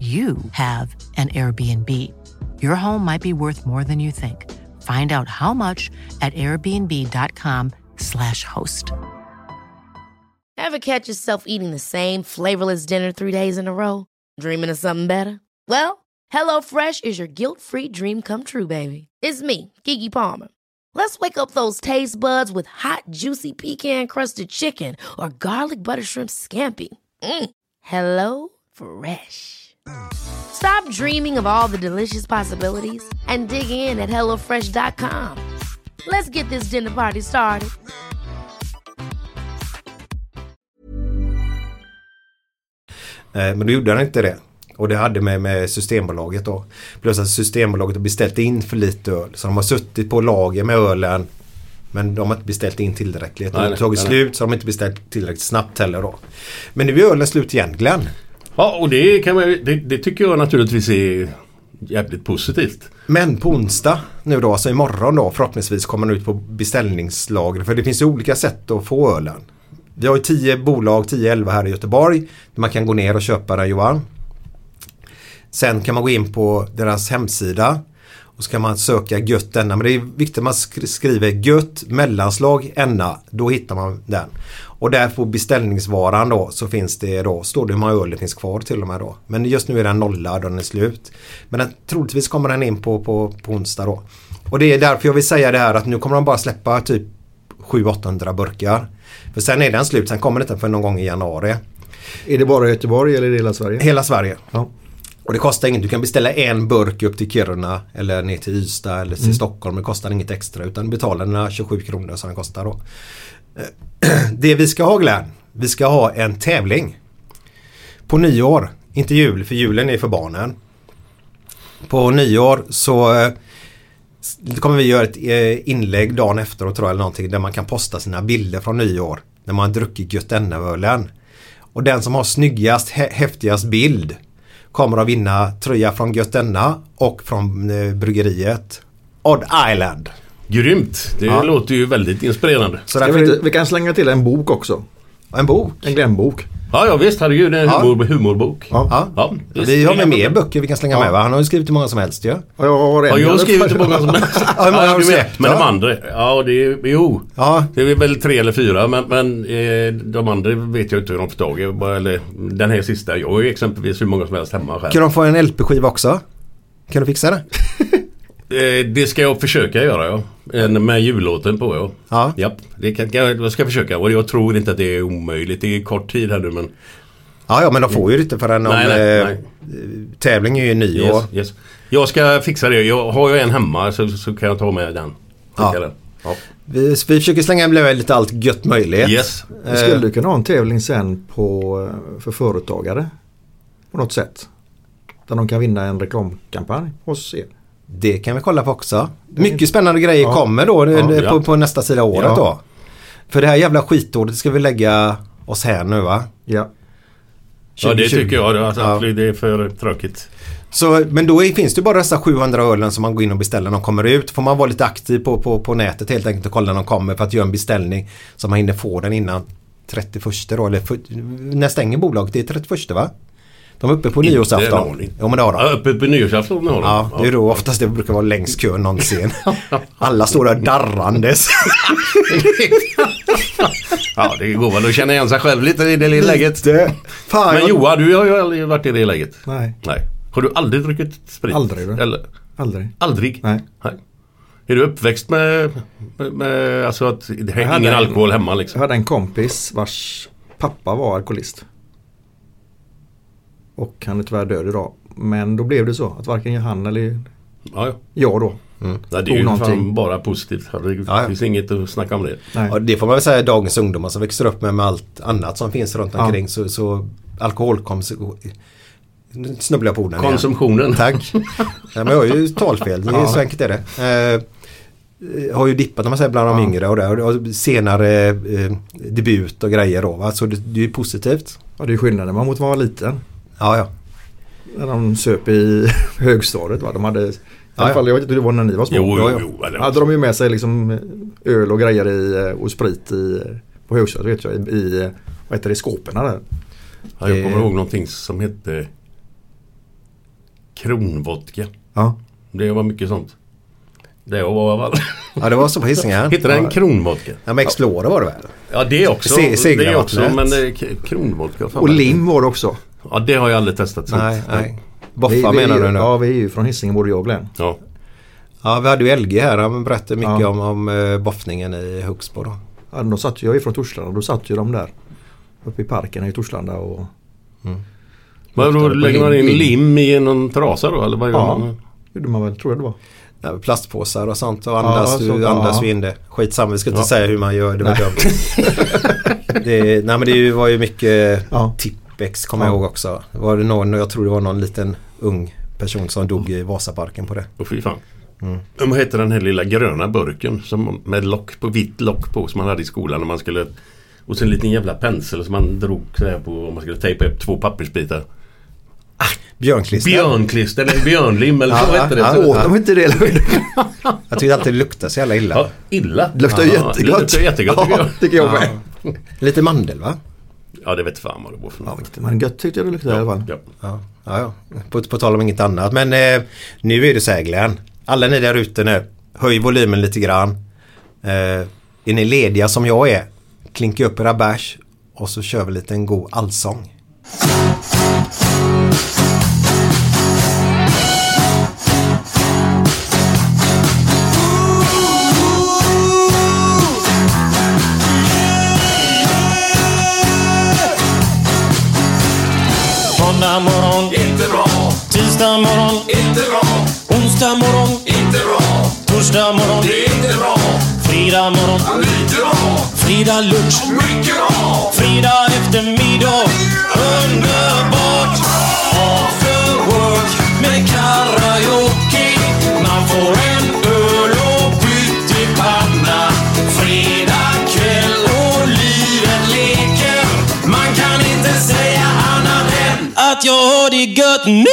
F: you have an Airbnb. Your home might be worth more than you think. Find out how much at airbnb.com/slash host.
G: Ever catch yourself eating the same flavorless dinner three days in a row? Dreaming of something better? Well, HelloFresh is your guilt-free dream come true, baby. It's me, Kiki Palmer. Let's wake up those taste buds with hot, juicy pecan-crusted chicken or garlic butter shrimp scampi. Mm. Hello Fresh. Stop dreaming of all the delicious possibilities and dig in at HelloFresh.com. Let's get this dinner party started.
C: Eh, Men då gjorde han inte det. Och det hade med, med Systembolaget då. Plus att Systembolaget har beställt in för lite öl. Så de har suttit på lager med ölen. Men de har inte beställt in
B: Nej,
C: tillräckligt. Nej, det har
B: nej,
C: tagit
B: nej.
C: slut så de har inte beställt tillräckligt snabbt heller då. Men nu är ölen slut igen Glenn.
B: Ja och det, kan man, ju- det, det tycker jag naturligtvis är jävligt positivt.
C: Men på onsdag nu då, alltså imorgon då förhoppningsvis kommer den ut på beställningslager. För det finns ju olika sätt att få ölen. Vi har ju 10 bolag, 10-11 här i Göteborg. Där man kan gå ner och köpa den Johan. Sen kan man gå in på deras hemsida. Och så kan man söka gött denna. Men det är viktigt att man sk- skriver gött mellanslag enna. Då hittar man den. Och där på beställningsvaran då så finns det då, står det hur många öl det finns kvar till och med då. Men just nu är den nollad och den är slut. Men den, troligtvis kommer den in på, på, på onsdag då. Och det är därför jag vill säga det här att nu kommer de bara släppa typ 700-800 burkar. För sen är den slut, sen kommer det inte för någon gång i januari.
D: Är det bara Göteborg eller är det hela Sverige?
C: Hela Sverige.
D: Ja.
C: Och det kostar inget. Du kan beställa en burk upp till Kiruna eller ner till Ystad eller till Stockholm. Det kostar inget extra utan du betalar dina 27 kronor som den kostar då. Eh, (clears throat) Det vi ska ha Glenn, vi ska ha en tävling. På nyår, inte jul för julen är för barnen. På nyår så eh, s- kommer vi göra ett eh, inlägg dagen efteråt tror jag eller någonting där man kan posta sina bilder från nyår. När man har druckit Götenneölen. Och den som har snyggast, hä- häftigast bild kommer att vinna tröja från Götenna och från eh, bryggeriet Odd Island.
B: Grymt! Det
C: Ja.
B: låter ju väldigt inspirerande.
C: Så
D: Ska
C: därför
D: vi, inte, vi kan slänga till en bok också.
C: en bok.
D: En glänbok.
B: Ja, ja visst. Herregud, det är en
C: Ja.
B: humor, humorbok.
C: Ja.
B: Ja, visst.
C: vi har
B: Inga
C: med mer
B: problem.
C: böcker vi kan slänga med va? Han har ju skrivit hur många som helst ju.
D: Ja, jag har en.
B: Ja, jag har skrivit hur många som helst.
C: (laughs) Ja, hur många har
B: du
C: du
B: vet.
C: släppt,
B: Men de
C: då?
B: andra, ja det är, jo.
C: Ja.
B: Det är väl tre eller fyra men, men eh, de andra vet jag inte hur de får tag i. Bara- Eller den här sista. Jag har ju exempelvis hur många som helst hemma själv.
C: Kan de få en LP-skiva också? Kan du
B: (laughs)
C: fixa det?
B: Eh, det ska jag försöka göra ja. En med jullåten på ja.
C: Ja.
B: Japp, det kan, kan- jag ska försöka och jag tror inte att det är omöjligt. Det är kort tid här nu men
C: Ja, ja men de får ju inte förrän om...
B: Nej, nej,
C: eh,
B: nej.
C: Tävling är ju nyår.
B: Yes, yes. Jag ska fixa det. Jag har ju en hemma så, så kan jag ta med den. Skicka
C: Ja.
B: den. Ja.
C: Vi, vi försöker slänga med lite allt gött möjligt. Eh,
B: Yes.
D: Vi skulle du kunna ha en tävling sen på, eh, för företagare. På något sätt. Där de kan vinna en reklamkampanj hos er.
C: Det kan vi kolla på också. Mycket spännande grejer
D: Ja.
C: kommer då eh,
B: Ja.
C: på, på nästa sida året
D: Ja.
C: då. För det här jävla skitåret ska vi lägga oss här nu va?
D: Ja.
B: ja, det
C: 2020.
B: tycker jag. Alltså,
C: Ja.
B: absolut, Det är för tråkigt.
C: Så, men då är, finns det bara dessa 700 ölen som man går in och beställer när de kommer ut. Får man vara lite aktiv på, på, på nätet helt enkelt och kolla när de kommer för att göra en beställning så man hinner få den innan 31 då. Eller för, när stänger bolaget? Det är 31 va? De är uppe på
B: Inte en
C: nyårsafton.
B: aning.
C: Jo men det har de.
B: Ja, uppe på nyårsafton har de.
C: Ja, det är då oftast det brukar vara längst kö
B: (laughs)
C: någonsin. Alla står där darrandes.
B: (laughs) ja, det går väl att känna igen sig själv lite i det lilla läget.
C: Det- Fan,
B: Men
C: jag-
B: Johan, du har ju aldrig varit i det läget.
D: Nej.
B: Nej. Har du aldrig druckit sprit?
D: Aldrig, va?
B: Eller?
D: Aldrig.
B: Aldrig?
D: Nej.
B: Är du uppväxt med, med, med alltså att det
D: Jag
B: är
D: hade
B: ingen
D: en-
B: alkohol hemma liksom?
D: Jag hade en kompis vars pappa var alkoholist. Och han är tyvärr död idag. Men då blev det så att varken han eller
B: Ja, ja.
D: jag då.
B: Nej, det är ju
D: Tog
B: fan
D: någonting.
B: bara positivt. Det
C: Ja, ja.
B: finns inget att snacka om det.
D: Nej.
C: Ja, det får man väl säga dagens ungdomar som växer upp med, med allt annat som finns runt omkring. Så, så alkoholkonsumtion... Nu snubblar jag på orden igen.
B: Konsumtionen.
C: Tack. Nej, men jag har ju talfel. Det är Så enkelt är det. Eh, eh, har ju dippat om man säger bland de yngre och, där, och senare eh, debut och grejer då. Va? Så det, det är ju positivt.
D: Ja, det är skillnaden man mot vad man var liten.
C: Ja, ja.
D: När de söp i högstadiet. Va? De hade, i alla
C: ja.
D: fall, jag vet inte hur det var när ni var små.
B: (laughs) Jo, jo,
D: Ja, ja.
B: jo, eller-
D: hade de ju med sig liksom öl och grejer i, och sprit i, på högstadiet vet jag. I, i vad heter det, skåpen där.
B: Ja, jag
D: Eh.
B: kommer ihåg någonting som hette Kronvodka.
D: Ja.
B: Det var mycket sånt. Det var vad
C: Ja, det var så
B: (laughs)
C: på Hisingen.
B: Hette den Kronvodka?
C: Ja, men Explorer var det väl?
B: Ja det också.
C: Se-
B: det är också
C: seglarvattnet.
B: men eh, k- kronvodka. fan
D: Och
B: vad-
D: lim var det också.
B: Ja det har jag aldrig testat. sånt.
D: Mm.
C: Nej, nej.
D: Vi-
C: Boffa
D: vi,
C: menar du nu?
D: Ja, vi är ju från Hisingen både jag och Glenn.
B: Ja.
C: Ja, vi hade ju LG här. Han berättade mycket
D: Ja.
C: om, om eh, boffningen i Huxbo då.
D: Ja, de satt, ju- jag är från Torslanda, då satt ju de där uppe i parken i Torslanda och
B: Vad då
D: Luktade på
B: lägger man in
D: lim.
B: lim i någon trasa då eller vad gör
D: Ja.
B: man?
D: gjorde man väl, tror jag det var.
C: Ja, plastpåsar och sånt och andas,
D: Ja,
C: du,
D: sånt, ja.
C: andas vi in det. Skitsamma, vi ska inte
B: Ja.
C: säga hur man gör. Det var dumt.
D: (laughs)
C: det, nej men det var ju mycket
D: Ja.
C: Tippex kommer
D: Ja.
C: jag ihåg också. Var det någon, jag tror det var någon liten ung person som dog i Vasaparken på det.
B: Åh fy fan.
D: Mm.
B: Men Vad heter den här lilla gröna burken som med lock på, vitt lock på som man hade i skolan när man skulle och så en liten jävla pensel som man drog så här på om man skulle tejpa upp två pappersbitar.
C: Björnklister.
B: Björnklister eller björnlim eller så
C: Ja,
B: hette det.
C: ja,
B: Så-
C: åt
D: De var inte det
C: Jag tyckte alltid det luktade så jävla illa.
B: Ja, illa.
D: Det luktar
B: Ja,
D: jättegott.
B: Det luktar jättegott tycker
D: Ja,
B: jag.
D: tycker jag med.
C: Lite mandel va?
B: Ja det vet fan vad det var för något.
D: Men gött tyckte jag det luktade i alla fall.
B: Ja.
C: Ja, ja, ja. På, på tal om inget annat. Men eh, nu är det så här Glenn. Alla ni där ute nu. Höj volymen lite grann. Eh, är ni lediga som jag är? Klinka upp era bärs och så kör vi lite en god allsång.
A: Måndag morgon, inte bra. Tisdag morgon, inte bra. Onsdag morgon, inte bra. Torsdag morgon, det är inte bra. Fredag morgon, lite bra. Fredag lunch, mycket bra. Fredag eftermiddag, underbart. After work med karaoke. Man får en öl och pyttipanna. Fredag kväll och livet leker. Man kan inte säga annat än att jag har det gött nu!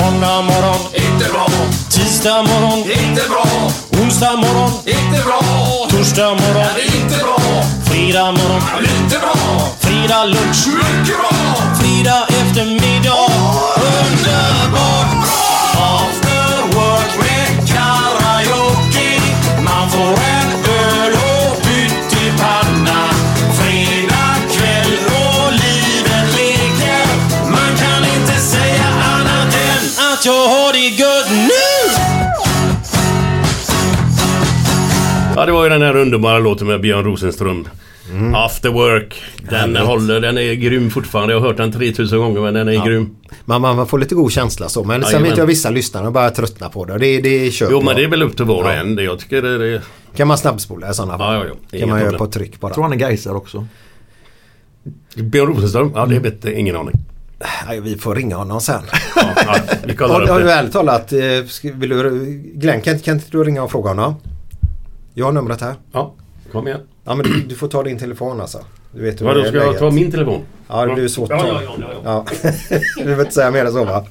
A: Måndag morgon, inte bra. Tisdag morgon, inte bra. Onsdag morgon, inte bra. Torsdag morgon, inte bra. Fredag morgon, inte bra. Fredag lunch, mycket bra. Fredag eftermiddag, underbart bra. After work med karaoke. Man får en öl och pyttipanna. Fredag kväll och livet leker. Man kan inte säga annat än att jag har det gött nu!
B: Ja, det var ju den här underbara låten med Björn Rosenström. After Work. Den håller, den är grym fortfarande. Jag har hört den 3000 gånger men den är grym.
C: Man, man, man får lite god känsla så. Men sen
B: Jajamän.
C: vet jag vissa lyssnare bara tröttnar på det. och Det, det köper
B: Jo men
C: jag.
B: det är väl upp till var och en. Det jag tycker det, det
C: Kan man snabbspola i sådana fall?
B: Ja, ja, ja.
C: Kan man
B: Inga problem.
C: göra på tryck bara?
D: Jag tror han är Gaisar också.
B: Björn Rosenström? Ja,
C: Mm.
B: det vet jag ingen aning.
C: Nej, vi får ringa honom sen.
B: Ja, ja, vi kollar
C: Har, har
B: upp
C: du
B: det.
C: ärligt talat, eh, sk- vill du, Glenn kan, kan inte du ringa och fråga honom? Jag har numret här.
B: Ja, kom igen.
C: Ja men du, du får ta din telefon alltså. Du vet hur
B: Vadå,
C: det är
B: ska jag
C: läget.
B: ta min telefon?
C: Ja det blir svårt att ta.
B: Ja, ja, ja, ja.
C: Ja. (laughs) du behöver inte säga mer än så va?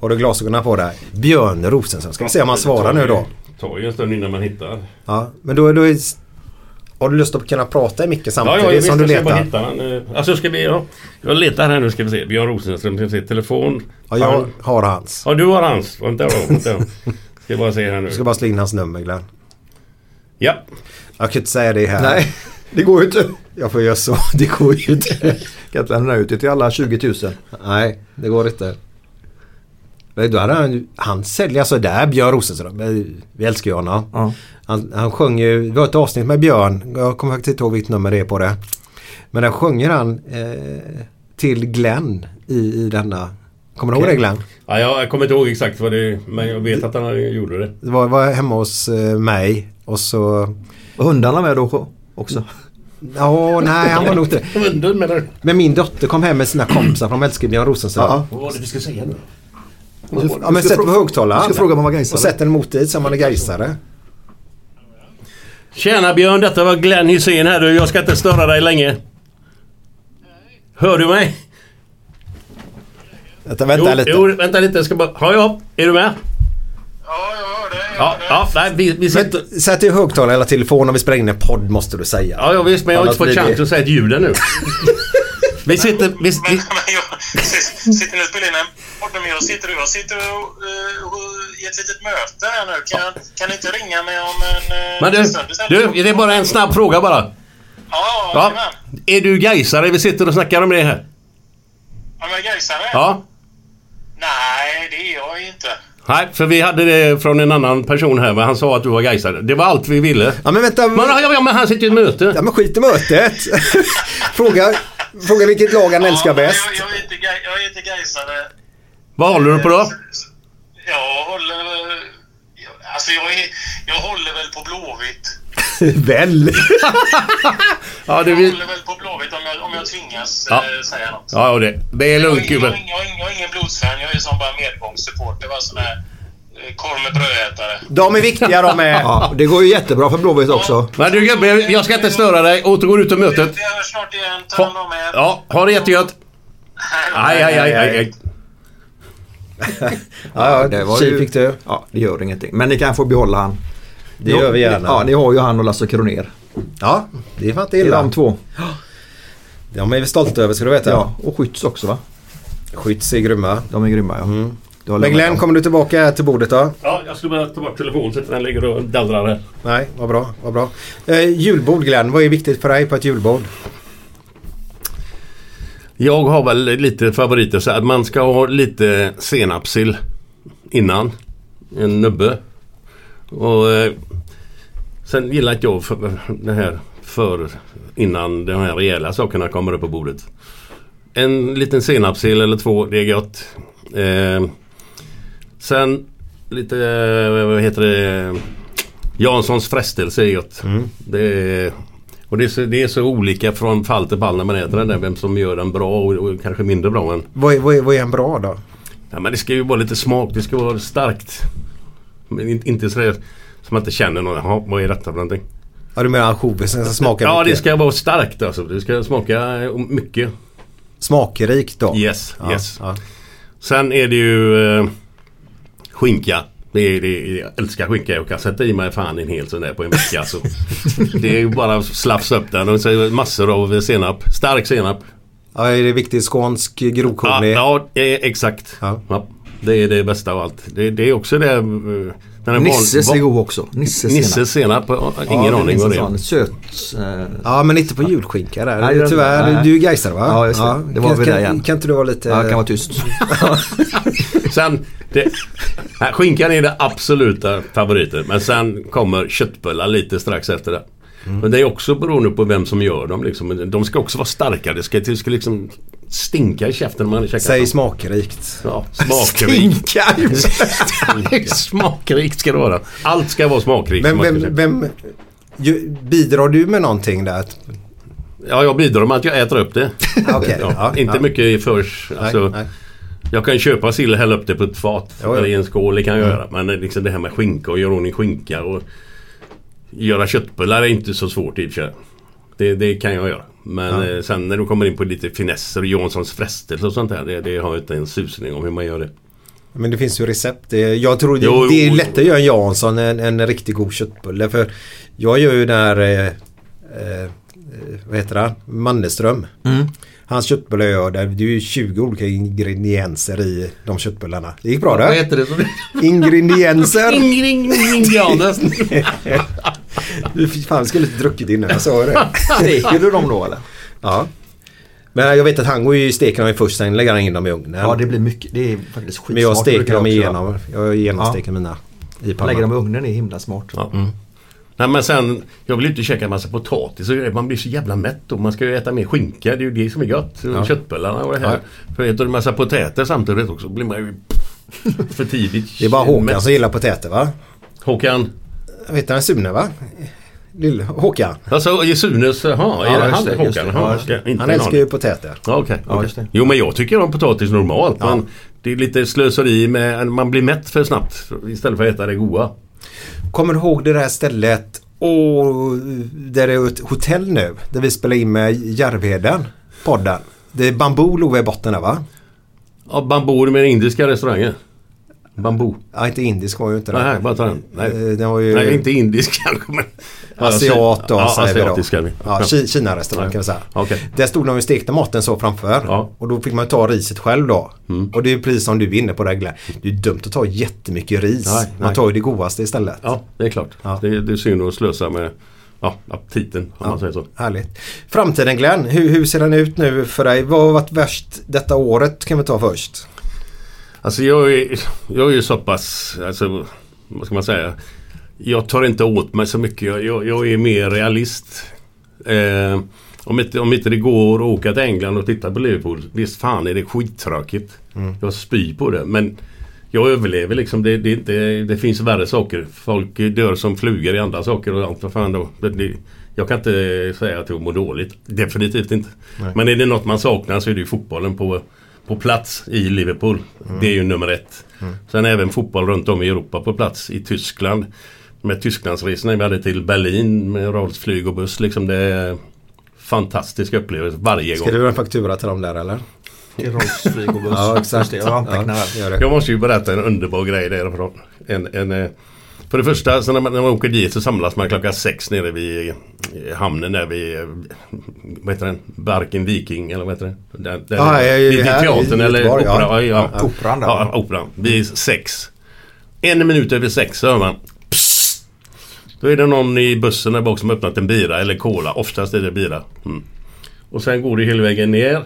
C: Har du glasögonen på dig? Björn Rosenström. Ska vi se om han svarar nu då.
B: Det tar ju en stund innan man hittar.
C: Ja, men då, då är, har du lust att kunna prata i micken
B: Ja,
C: samtidigt
B: ja, visst,
C: som du
B: jag ska bara
C: letar?
B: hitta den. eh, Alltså ska vi... Ja. Jag letar här nu ska vi se. Björn Rosenström ska vi se. Telefon.
C: Ja, jag
B: Han-
C: har hans.
B: Ja, du har hans. Vänta då. Vänta. då. Ska bara se här nu.
C: Jag ska bara slå in hans nummer Glenn.
B: Ja.
C: Jag kan inte säga (laughs) det här.
D: Nej, det går ju inte.
C: Jag får göra så. (laughs) Det går ju inte.
D: Jag (laughs) kan inte lämna ut det till alla 20 000.
C: Nej, det går inte. Men då hade han, ju- han säljer alltså sådär Björn Rosenström. Vi vi älskar ju honom.
D: Ja.
C: Han, han sjöng ju, det var ett avsnitt med Björn. Jag kommer faktiskt inte ihåg vilket nummer det är på det. Men där sjunger han eh, till Glenn i, i denna. Kommer du ihåg det Glenn?
B: ja jag kommer inte ihåg exakt vad det... Men jag vet att han gjorde det.
C: Det var, var hemma hos eh, mig och så...
D: Var hundarna med då också?
C: Ja, nej han var nog inte det.
B: Under menar du?
C: Men min dotter kom hem med sina kompisar för de älskar Björn Rosenström.
D: Ja.
B: Vad var det vi skulle säga nu?
C: Ja men sätt på högtalaren.
D: Jag ska fråga om han var Gaisare.
C: Och sätt den mot dig så man är Gaisare.
B: Tjena Björn, detta var Glenn Hysén här du. Jag ska inte störa dig länge. Hör du mig?
C: Vänta, vänta
B: jo,
C: lite.
B: Jo, vänta lite. Jag ska bara... Ja, ja. Är du med? Ja, jag hör dig. Ja, ja, nej, vi, vi sitter...
C: Men sätt i högtalare eller telefon om vi spelar in en podd måste du säga.
B: Ja, ja visst, men jag har inte
C: Annars
B: fått
C: blir det-
B: chans att säga ett ljud ännu. vi sitter... Vi, vi,
A: (laughs) Sitter ni och spelar in en podd med och sitter du och sitter och, eh, och, i ett litet möte här nu? Kan, kan ni inte ringa mig om en... eh,
B: men du, du, det är bara en snabb fråga bara.
A: Ja,
B: Ja. Är du Gaisare? Vi sitter och snackar om det här.
A: Om jag är gaisare?
B: Ja.
A: Nej, det är jag inte.
B: Nej, för vi hade det från en annan person här, men han sa att du var Gaisare. Det var allt vi ville.
C: Ja men vänta.
B: Men, ja, ja, men han sitter i ett möte.
C: Ja men skit i mötet. (laughs) fråga, fråga vilket lag han älskar
A: Ja, men
C: bäst.
A: Jag, jag, är inte, Gai- jag är inte gaisare.
B: Vad håller du på då?
A: Jag håller... väl- jag- Alltså jag, är, jag håller väl på Blåvitt.
B: (laughs)
C: Väl?
B: Ja, det
A: Jag
B: vi...
A: håller väl på Blåvitt om jag, om jag tvingas
B: Ja.
A: eh, säga något.
B: Ja, ja, det. Det är
A: Jag,
B: lugnt
A: är- jag,
B: gubben.
A: är ingen- jag, är ingen- jag är ingen blodsfan. Jag är som bara medgångssupporter. Bara sån här eh, korv med brödätare.
C: De är viktiga de är.
D: Ja, det går ju jättebra för Blåvitt också.
B: Men du gubben, jag ska inte störa dig. Återgår du till mötet.
A: Vi hörs snart igen. Ta hand om
B: Ha,
A: er.
B: ja, ha det jättegött. Aj, aj, aj, aj, aj.
C: Ja, ja,
D: Det var
C: tji
D: ju-
C: fick du.
D: Ja, det gör ingenting. Men ni kan få behålla han.
C: Det gör vi gärna.
D: Ja, ni har ju han och Lasse Kronér.
C: Ja, det är fan inte
D: Det är
C: illa.
D: de två.
C: De är vi stolta över ska du veta.
D: Ja, och Skytts också va?
C: Skytts är grymma. Mm.
D: De är grymma ja. Du har
C: Men
D: lämnat
C: Glenn,
D: dem.
C: kommer du tillbaka här till bordet då?
B: Ja, jag skulle bara ta bort telefonen så att den ligger och dallrar här.
C: Nej, vad bra. Vad bra. Eh, julbord Glenn, vad är viktigt för dig på ett julbord?
B: Jag har väl lite favoriter så att man ska ha lite senapssill innan. En nubbe. Och eh, sen gillar inte jag för, det här för innan de här rejäla sakerna kommer upp på bordet. En liten senapssill eller två, det är gott. Eh, sen lite, eh, vad heter det? Janssons frestelse är gott.
C: Mm.
B: Det är, och det är, så, det är så olika från fall till fall när man äter den där. Vem som gör den bra och, och kanske mindre bra. Men,
C: Vad är, vad, är, vad är en bra då?
B: ja, men det ska ju vara lite smak. Det ska vara starkt. Men in, inte sådär som man inte känner någon. Jaha, vad är detta för någonting?
C: Ja, du menar alltså ansjovisen som smakar
B: Ja, det
C: mycket?
B: ska vara starkt alltså. Det ska smaka eh, mycket.
C: Smakrikt då?
B: Yes, yes.
C: Ja.
B: Sen är det ju eh, skinka. Det är, det är, jag älskar skinka. Jag kan sätta i mig fan en hel sån där på en vecka. (laughs) Så. Det är ju bara att slafsa upp den och så är det massor av senap. Stark senap.
C: Ja, är det viktigt skånsk
B: Ja,
C: grovkornig?
B: ja eh, exakt.
C: Ja.
B: Ja. Det är det bästa av allt. Det, det är också det... eh, den här van-
D: Nisses
B: va-
D: är god också. Nisses
B: Nisse senap. Ja, Ingen
D: Ja,
B: aning vad det
D: Nisses
B: är.
D: sån Söt. eh,
C: Ja men inte på julskinka där.
D: Nej, det-
C: Tyvärr,
D: nej.
C: du är Gaisare va?
D: Ja, just det. Det var
C: kan,
D: vi där
C: kan,
D: igen.
C: Kan inte du vara lite...
D: Ja, jag kan vara tyst.
B: Sen, det, här, skinkan är det absoluta favoriten. Men sen kommer köttbullar lite strax efter det.
C: Mm.
B: Men det är också beroende på vem som gör dem. Liksom. De ska också vara starka. Det ska, det ska liksom stinka i käften när man käkar
C: Säg
B: dem.
C: smakrikt. (laughs)
B: Ja, smakrikt. (laughs) smakrikt ska det vara. Allt ska vara smakrikt. som
C: Men
B: man ska
C: vem...
B: säga.
C: vem ju, bidrar du med någonting där?
B: Ja, jag bidrar med att jag äter upp det.
C: Okej,
B: ja,
C: ja,
B: inte
C: ja.
B: mycket i förs. Alltså,
C: nej.
B: Jag kan köpa sill och hälla upp det på ett fat.
C: Jo, jo.
B: Eller i en skål, det kan jag göra. Men eh, liksom det här med skinka och göra ordning skinka och göra köttbullar är inte så svårt i och för sig. det, det kan jag göra. Men eh, sen när du kommer in på lite finesser och Janssons frestelse och sånt där. Det, det har jag inte en susning om hur man gör det.
C: Men det finns ju recept. Det- Jag tror det,
B: Jo,
C: det är
B: jo,
C: lättare att göra en Jansson än en riktigt god köttbulle. För jag gör ju där... Eh, eh, vad heter han? Mandelström.
B: Mm.
C: Hans köttbullar jag gör där. Det är ju 20 olika ingredienser i de köttbullarna. Det gick bra
B: Vad
C: det.
B: heter det? som-
C: Ingredienser.
B: Ring, ring, ring, Janus.
C: (laughs) Du fy fan, vi skulle inte druckit innan jag
B: (laughs)
C: sa det.
D: Steker du dem då eller?
C: Ja. Men jag vet att han går ju steker dem i först, sen lägger han in dem i ugnen.
D: Ja, det blir mycket. Det är faktiskt skitsmart.
C: Men jag
D: brukar
C: steker dem
D: också göra.
C: igenom. Jag genomsteker mina i pannan.
D: Lägger dem i ugnen är himla smart.
B: Ja. Nej men sen, jag vill ju inte käka massa potatis och grejer. Man blir så jävla mätt och man ska ju äta mer skinka. Det är ju det som är gött. Och Köttbullarna och det här. För äter du massa potäter samtidigt också blir man ju för tidigt
C: Det är bara Håkan
B: mätt.
C: som gillar potäter va?
B: Håkan?
C: Vad heter han? Sune va? Lill Håkan.
B: Alltså i Sunes, jaha,
D: Ja,
B: är det
D: just
B: han
D: det,
B: Håkan?
D: just det.
B: Jaha,
D: Ja, just det.
B: okej, inte
C: Han
B: en
C: älskar
B: aning.
C: ju potäter.
B: Ja, okej. okej.
D: just det.
B: Jo men jag tycker om potatis normalt. Men det är lite slöseri med, man blir mätt för snabbt. Istället för att äta det goda.
C: Kommer du ihåg det där stället? Och där är ett hotell nu. Där vi spelar in med Järvheden. Podden. Det är bambu låg i botten där va?
B: Ja, bambu med indiska restauranger. Bambu.
C: Ja, inte indisk var ju inte det.
B: Nej, bara ta den. Nej.
C: Eh, den var ju-
B: Nej, inte (laughs) indisk kanske men...
C: Asiat och
B: ja,
C: säger vi då.
B: asiatisk kan vi.
C: Ja, Ki- Kina-restaurang kan vi säga.
B: Okej.
C: Där stod de ju stekta maten så framför.
B: Ja. Mm.
C: Och då fick man ta riset själv då. Och det är precis som du är inne på där Glenn. Det är dumt att ta jättemycket ris.
B: Nej, nej.
C: Man tar ju det godaste istället.
B: Ja, det är klart.
C: Ja.
B: Det, det är synd att slösa med ja, aptiten om man säger så.
C: Härligt. Framtiden Glenn, hur, hur ser den ut nu för dig? Vad har varit värst detta året kan vi ta först?
B: Alltså jag är, jag är ju så pass, alltså, vad ska man säga? Jag tar inte åt mig så mycket. Jag, jag, jag är mer realist. Eh, om, inte, om inte det går att åka till England och titta på Liverpool. Visst fan är det skittråkigt. Jag spyr på det. Men jag överlever liksom. Det, det, är inte- det finns värre saker. Folk dör som flugor i andra saker och allt vad fan då. Det, det, jag kan inte säga att jag mår dåligt. Definitivt inte. Men är det något man saknar så är det ju fotbollen på, på plats i Liverpool. Det är ju nummer ett. Sen även fotboll runt om i Europa på plats. I Tyskland. Med Tysklandsresorna vi hade till Berlin med radiosflyg och buss. Liksom det är fantastisk upplevelse varje gång.
C: Ska du ha en faktura till dem där eller?
D: Det är Rolfsflyg och buss.
C: Ja
D: Just
C: exakt.
D: det, Jag antecknar
C: ja,
D: här.
C: gör det.
B: Jag måste ju berätta en underbar grej därifrån. En, en, eh, för det första, så när, man, när man åker dit så samlas man klockan sex nere vid eh, hamnen där vid, eh, vad heter den, Barken Viking eller vad heter den? Där, där,
C: Ah, Ja, ja, ja,
B: vid
C: här i
B: teatern eller
C: Göteborg, ja.
B: opera, ja, ja.
D: Ja, operan där.
B: Ja, operan. Vid sex. En minut över sex så hör man psst. Då är det någon i bussen där bak som har öppnat en bira eller cola. Oftast är det bira. Mm. Och sen går det hela vägen ner.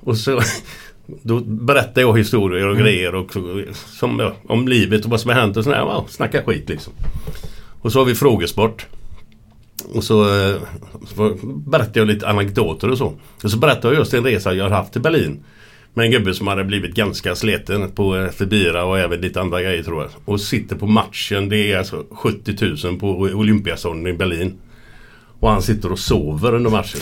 B: Och så (laughs) då berättar jag historier
C: Mm.
B: och grejer och, som, ja, om livet och vad som har hänt och sådär. Wow, snacka skit liksom. Och så har vi frågesport. Och så, eh, så berättade jag lite anekdoter och så. Och så berättade jag just en resa jag har haft till Berlin. Med en gubbe som hade blivit ganska sliten på efter bira och även lite andra grejer tror jag. Och sitter på matchen. Det är alltså 70 000 på Olympiastaden i Berlin. Och han sitter och sover under (laughs) matchen.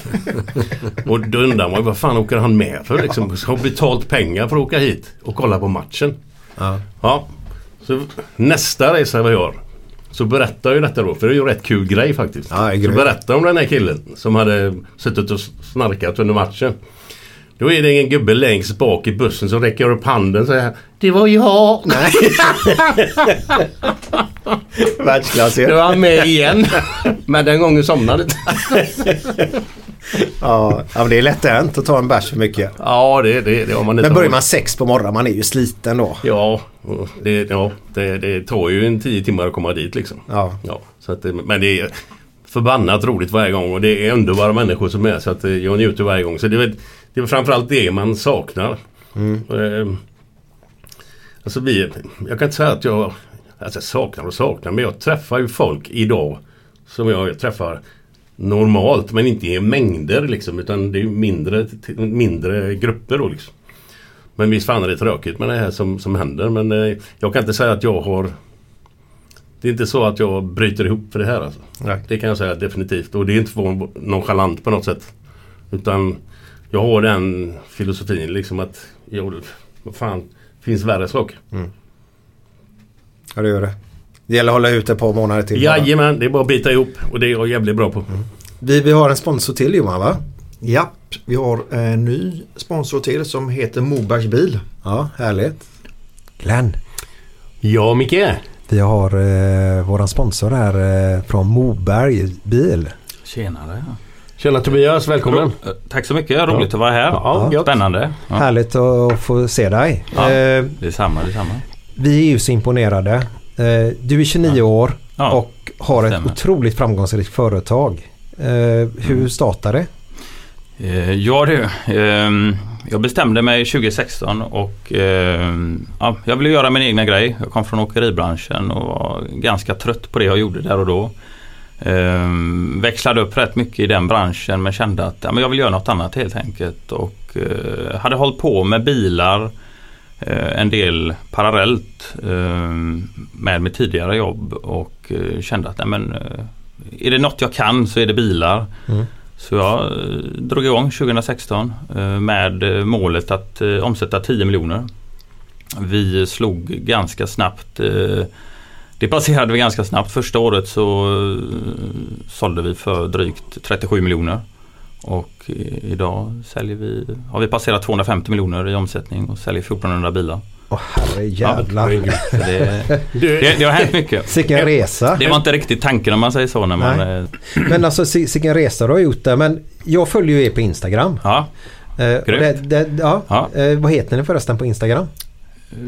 B: och då undrar man ju, vad fan åker han med för liksom? Har betalt pengar för att åka hit och kolla på matchen.
C: Ja.
B: Ja. Så nästa resa vi gör. Så berättar jag ju detta då, för det är ju en rätt kul grej faktiskt.
C: Ja, det är
B: så
C: grymt.
B: berättar jag om den här killen som hade suttit och snarkat under matchen. Då är det en gubbe längst bak i bussen som räcker upp handen så här. Det var jag! (laughs)
C: Världsklass
B: (laughs) Nu är han med igen. Men den gången somnade inte.
C: ja, ja, men det är lätt hänt att ta en bärs för mycket.
B: Ja, det, det, det har man inte
C: Men börjar
B: har-
C: man sex på morgonen, man är ju sliten då.
B: Ja, och det, ja det, det tar ju en tio timmar att komma dit liksom.
C: Ja.
B: Ja, så att, det- men det är förbannat roligt varje gång och det är underbara människor som är så att eh, jag njuter varje gång. Så det är, väl- det är väl framförallt det man saknar. Eh, alltså vi, jag kan inte säga att jag alltså jag saknar och saknar men jag träffar ju folk idag som jag träffar normalt men inte i mängder liksom utan det är ju mindre, mindre grupper då liksom. Men visst fan är det tråkigt med det här som, som händer men eh, jag kan inte säga att jag har Det är inte så att jag bryter ihop för det här alltså.
C: Nej.
B: Det kan jag säga definitivt och det är inte för att vara nonchalant på något sätt. Utan jag har den filosofin liksom att jo, vad fan, finns värre saker.
C: Ja, det gör det. Det gäller att hålla ut ett par månader till. bara.
B: Jajamän, det är bara att bita ihop och det är jag jävligt bra på.
C: Vi, vi har en sponsor till Johan va?
D: Japp, vi har en ny sponsor till som heter Mobergs bil.
C: Ja, härligt. Glenn,
B: Ja, Micke.
C: vi har eh, våran sponsor här eh, från Moberg Bil.
H: Tjenare.
B: Tjena Tobias, välkommen.
H: Eh, Tack så mycket, roligt att vara här.
B: Ja, gött.
H: Spännande. Ja.
C: Härligt att få se dig.
H: Ja.
C: Eh,
H: Detsamma, detsamma.
C: vi är ju så imponerade. Eh, du är 29 år
H: Ja,
C: och har ett
H: stämmer. Mm.
C: otroligt framgångsrikt företag. Eh, hur startade det?
H: Eh, Ja du, ehm, jag bestämde mig 2016 och ehm, ja, jag ville göra min egna grej. Jag kom från åkeribranschen och var ganska trött på det jag gjorde där och då. Ehm, Växlade upp rätt mycket i den branschen men kände att ja, men jag vill göra något annat helt enkelt. Och eh, hade hållit på med bilar eh, en del parallellt ehm, med mitt tidigare jobb och eh, kände att nej, men, eh, är det något jag kan så är det bilar. Så jag eh, drog igång 2016 eh, med eh, målet att eh, omsätta 10 miljoner. Vi slog ganska snabbt eh, Det passerade vi ganska snabbt. Första året så eh, sålde vi för drygt 37 miljoner. Och eh, idag säljer vi, har vi passerat 250 miljoner i omsättning och säljer 1400 bilar.
C: Åh herrejävlar.
B: Ja, herregud.
C: (laughs)
H: Så det,
B: Du,
H: det, det har hänt mycket.
C: Sicken resa.
H: Det var inte riktigt tanken om man säger så när man...
C: Nej.
H: eh,
C: Men alltså si- sicken resa du har gjort där. Men jag följer ju er på Instagram.
H: Ja,
C: Eh, och det,
H: Grymt.
C: det, ja.
H: Ja.
C: Eh, vad heter ni förresten på Instagram?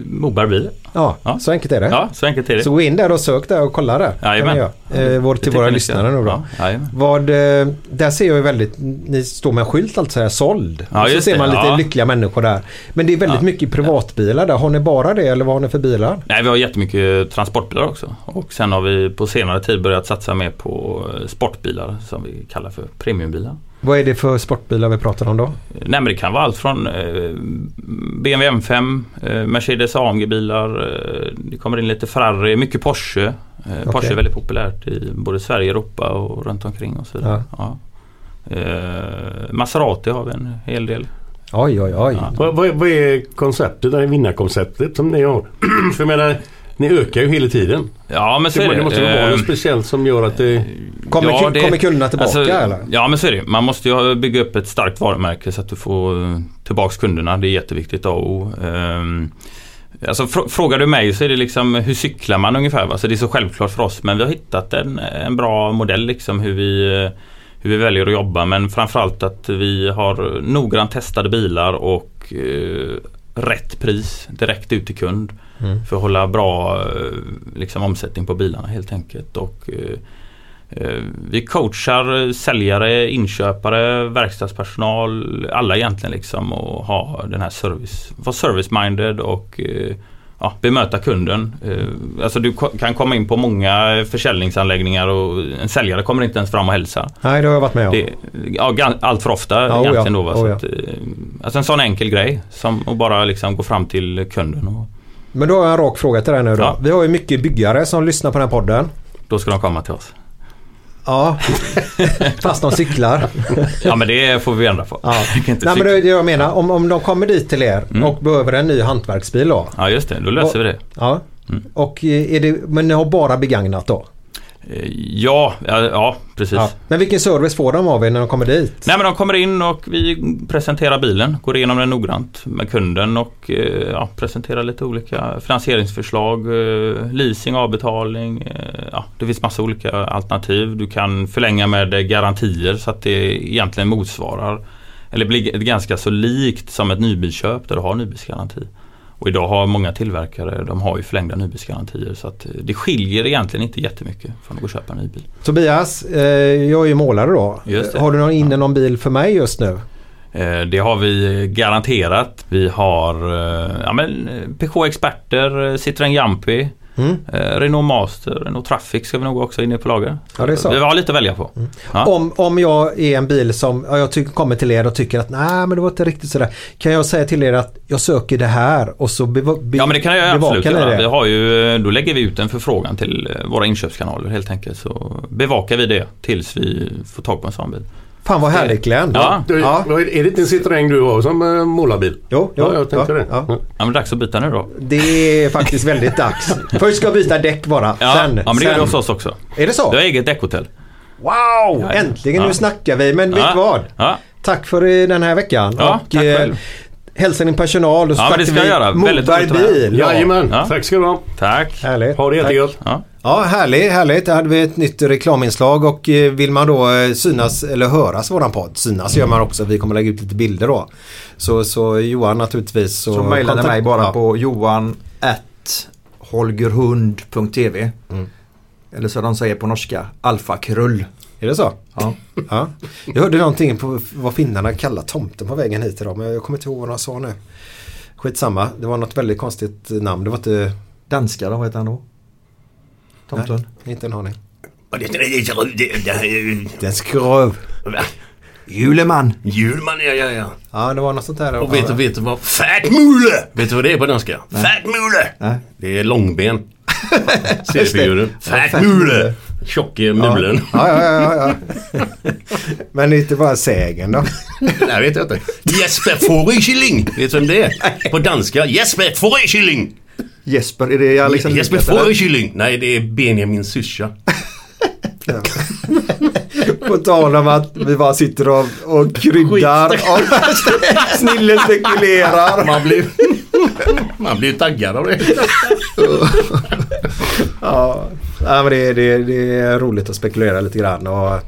H: Moberg bil.
C: Ja,
H: Ja.
C: så enkelt är det.
H: Ja, så enkelt är det.
C: Så gå in där och sök där och kolla där.
H: Jajamän.
C: Kan ni göra. Eh, vår,
H: Det
C: till
H: tycker
C: våra
H: jag ni
C: lyssnare
H: ska.
C: nu då.
H: Ja, jajamän.
C: Vad, eh, där ser jag ju väldigt, ni står med en skylt alltså här, såld.
H: Ja,
C: och så
H: just
C: ser
H: det.
C: man lite
H: Ja.
C: lyckliga människor där. Men det är väldigt mycket privatbilar där. Har ni bara det eller vad har ni för bilar?
H: Nej, vi har jättemycket transportbilar också. Och sen har vi på senare tid börjat satsa mer på eh, sportbilar som vi kallar för premiumbilar.
C: Vad är det för sportbilar vi pratar om då?
H: Eh, Nej, men det kan vara allt från eh, BMW M5, eh, Mercedes AMG-bilar, eh, det kommer in lite Ferrari, mycket Porsche. Eh, Porsche är väldigt populärt i både Sverige, Europa och runt omkring och så vidare. Ja. Eh, Maserati har vi en hel del.
C: Oj, oj, oj.
H: Ja.
B: vad, vad, vad är konceptet, det här vinnarkonceptet som ni har? (clears throat) för jag menar, ni ökar ju hela tiden.
H: Ja, men så är
B: Det,
H: det.
B: det måste väl vara
H: Eh,
B: något speciellt som gör att det...
C: Kommer,
H: Ja,
C: ku-
H: det-
C: kommer kunderna tillbaka
H: alltså,
C: eller?
H: Ja men så är det Man måste ju ha- bygga upp ett starkt varumärke så att du får eh, tillbaks kunderna. Det är jätteviktigt A och O. Ehm, Alltså, fr- frågar du mig så är det liksom hur cyklar man ungefär? va? Alltså, det är så självklart för oss men vi har hittat en, en bra modell liksom hur vi, eh, hur vi väljer att jobba men framförallt att vi har noggrant testade bilar och eh, rätt pris direkt ut till kund.
C: Mm.
H: För att hålla bra eh, liksom, omsättning på bilarna helt enkelt. Och, eh, Eh, Vi coachar eh, säljare, inköpare, verkstadspersonal, alla egentligen liksom och ha den här service, vara service-minded och eh, ja, bemöta kunden. Eh, Alltså du ko- kan komma in på många försäljningsanläggningar och en säljare kommer inte ens fram och hälsar.
C: Nej, det har jag varit med om.
H: Det, ja, gan- allt för ofta
C: Ja, oh ja.
H: egentligen då. Va? Så
C: Oh ja.
H: att, eh, alltså en sån enkel grej som att bara liksom gå fram till kunden och
C: Men då har jag en rak fråga till dig nu då.
H: Ja.
C: Vi har ju mycket byggare som lyssnar på den här podden.
H: då ska de komma till oss.
C: Ja, (laughs) fast de cyklar.
H: Ja men det får vi ändra på.
C: Ja.
H: Vi kan inte
C: Nej men det
H: cykla. Mm.
C: är det jag menar. Om, om de kommer dit till er och behöver en ny hantverksbil då.
H: ja just det, Mm. då löser vi det.
C: Ja. Och eh, är det, men ni har bara begagnat då?
H: Eh, Ja, ja, ja precis.
C: Ja. Men vilken service får de av er när de kommer dit?
H: Nej men de kommer in och vi presenterar bilen, går igenom den noggrant med kunden och eh, ja, presenterar lite olika finansieringsförslag, eh, leasing, avbetalning. eh, Ja, det finns massa olika alternativ. Du kan förlänga med eh, garantier så att det egentligen motsvarar eller blir g- ganska så likt som ett nybilsköp där du har nybilsgaranti. Och idag har många tillverkare, de har ju förlängda nybilsgarantier så att eh, det skiljer egentligen inte jättemycket från att gå och köpa en ny bil.
C: Tobias, eh, jag är ju målare då.
H: Just det.
C: Har du någon inne någon bil för mig just nu?
H: Eh, Det har vi garanterat. Vi har eh, ja, men, eh, Peugeot Experter, eh, Citroën Jumpy,
C: Mm.
H: eh, Renault Master, Renault Traffic ska vi nog också inne på lager.
C: Ja, det är så.
H: Vi har lite att välja på.
D: Mm.
H: Ja.
C: Om, om jag är en bil som ja, jag tycker, kommer till er och tycker att nej men det var inte riktigt sådär. Kan jag säga till er att jag söker det här och så beva- be,
H: Ja men det kan jag
C: bevakar
H: absolut
C: ni
H: göra.
C: det?
H: Vi har ju, eh, då lägger vi ut en förfrågan till eh, våra inköpskanaler helt enkelt. Så bevakar vi det tills vi får tag på en sån bil.
C: Fan vad härligt Glenn.
H: Ja.
I: Du,
C: Ja.
I: Är det inte en Citroën du har som eh, målarbil?
C: Jo, jo,
I: ja, jag tänkte
C: ja,
I: det.
C: ja.
H: Ja, men dags att byta nu då.
C: Det är faktiskt väldigt dags. Först ska jag byta däck bara.
H: Ja,
C: sen,
H: ja men det
C: sen.
H: gör vi hos oss också.
C: Är det så?
H: Du har eget däckhotell.
C: Wow!
H: Ja, ja.
C: Äntligen,
H: Ja.
C: nu snackar vi. Men vet
H: Ja.
C: du vad?
H: Ja.
C: Tack för eh, den här veckan.
H: Ja, tack
C: eh,
H: själv.
C: Hälsa din personal och så
H: Ja, men det
C: snackar
H: ska jag
C: vi
H: göra. Väldigt
C: Moberg
H: roligt att vara här.
C: bil.
I: Jajamän,
H: Ja.
I: tack ska du ha.
H: Tack.
C: Härligt.
I: Ha det
C: Tack.
I: jättegött.
H: Ja.
C: Ja, härligt, härligt. Där hade vi ett nytt reklaminslag och eh, vill man då eh, synas eller höras våran podd, synas gör man också. Vi kommer lägga ut lite bilder då. Så, så Johan naturligtvis. Så,
D: Så mejla
C: kontakt-
D: mig bara
C: Ja.
D: på johan at holgerhund.tv Eller som de säger på norska, alfakrull.
C: Är det så?
D: Ja.
C: Ja. Jag hörde någonting på vad finnarna kallar tomten på vägen hit idag men jag kommer inte ihåg vad de sa nu. Skitsamma, det var något väldigt konstigt namn. Det var inte...
D: Danskar, vad heter han då? Tomten?
C: Nej, inte en aning.
I: Det
C: Den skröv.
D: Juleman!
I: Julman, ja, ja, ja.
C: Ja, det var något sånt där.
I: Och vet du, vet du vad fatmule? Vet du vad det är på danska? Fatmule!
D: Nej.
B: Det är
C: (laughs)
B: långben. Seriefiguren.
I: Fatmule!
B: Tjocke mulen.
C: Ja, ja, ja, ja, ja. Men det är inte bara sägen då.
I: Nej, vet jag inte. Jesper Forekilling! Vet du vem det är? På danska. Jesper Forekilling!
D: Jesper, är det Alexander
I: Jesper
D: Lindqvist, eller?
I: Forekilling! Nej, det är Benjamin syrsa.
C: På tal om att vi bara sitter och, och kryddar och (laughs) snillen spekulerar.
I: Man blir... (laughs) Man blir taggad av det.
C: Ja, ja men det, det, det är roligt att spekulera lite grann. Och,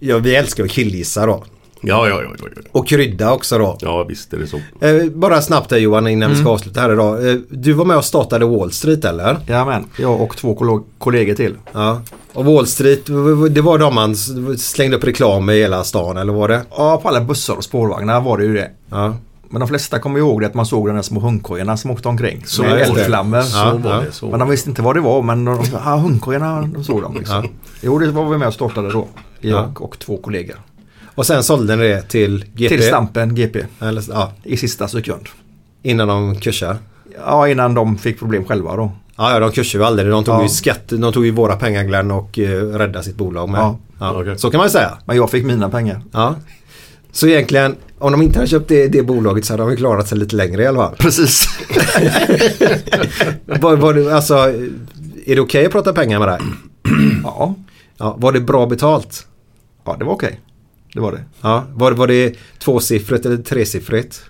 C: ja, vi älskar att killgissa då.
I: Ja, ja, ja. ja, ja.
C: Och krydda också då.
I: Ja, visst är det så.
C: Eh, bara snabbt här Johan innan vi
D: Mm.
C: ska avsluta här idag. Eh, du var med och startade Wall Street eller?
D: Jajamän, jag och två kollo- kollegor till.
C: Ja. Och Wall Street, v- v- det var de man s- slängde upp reklam i hela stan eller var det?
D: Ja, på alla bussar och spårvagnar var det ju det.
C: Ja.
D: Men de flesta kommer ihåg det att man såg de där små hundkojorna som åkte omkring.
I: Så
D: Så med
C: var det.
D: eldflammor.
I: Så
C: Ja,
I: var
C: ja.
I: det. Så. var
D: Men
I: det.
D: de visste inte vad det var men de, ah, hundkojorna, de såg dem liksom. Jo, det var vi med och startade då. Jag
C: Ja.
D: och två kollegor.
C: Och sen sålde ni det till GP?
D: Till Stampen GP
C: Eller, ja,
D: i sista sekund.
C: innan de kursade?
D: Ja, innan de fick problem själva då.
C: Ja, ja, de kursade ju aldrig. De tog
D: Ja.
C: ju skatt, de tog ju våra pengar Glenn och eh, räddade sitt bolag med. Ja.
D: Ja.
I: Okej.
C: Så kan man ju säga.
D: Men jag fick mina pengar.
C: Ja. Så egentligen, om de inte hade köpt det, det bolaget så hade de ju klarat sig lite längre i alla fall.
D: Precis.
C: Var, var det, alltså, är det okej att prata pengar med dig?
D: (clears throat) ja.
C: Ja, var det bra betalt?
D: ja, det var okej. Det var det.
C: Ja, var, var det tvåsiffrigt eller tresiffrigt?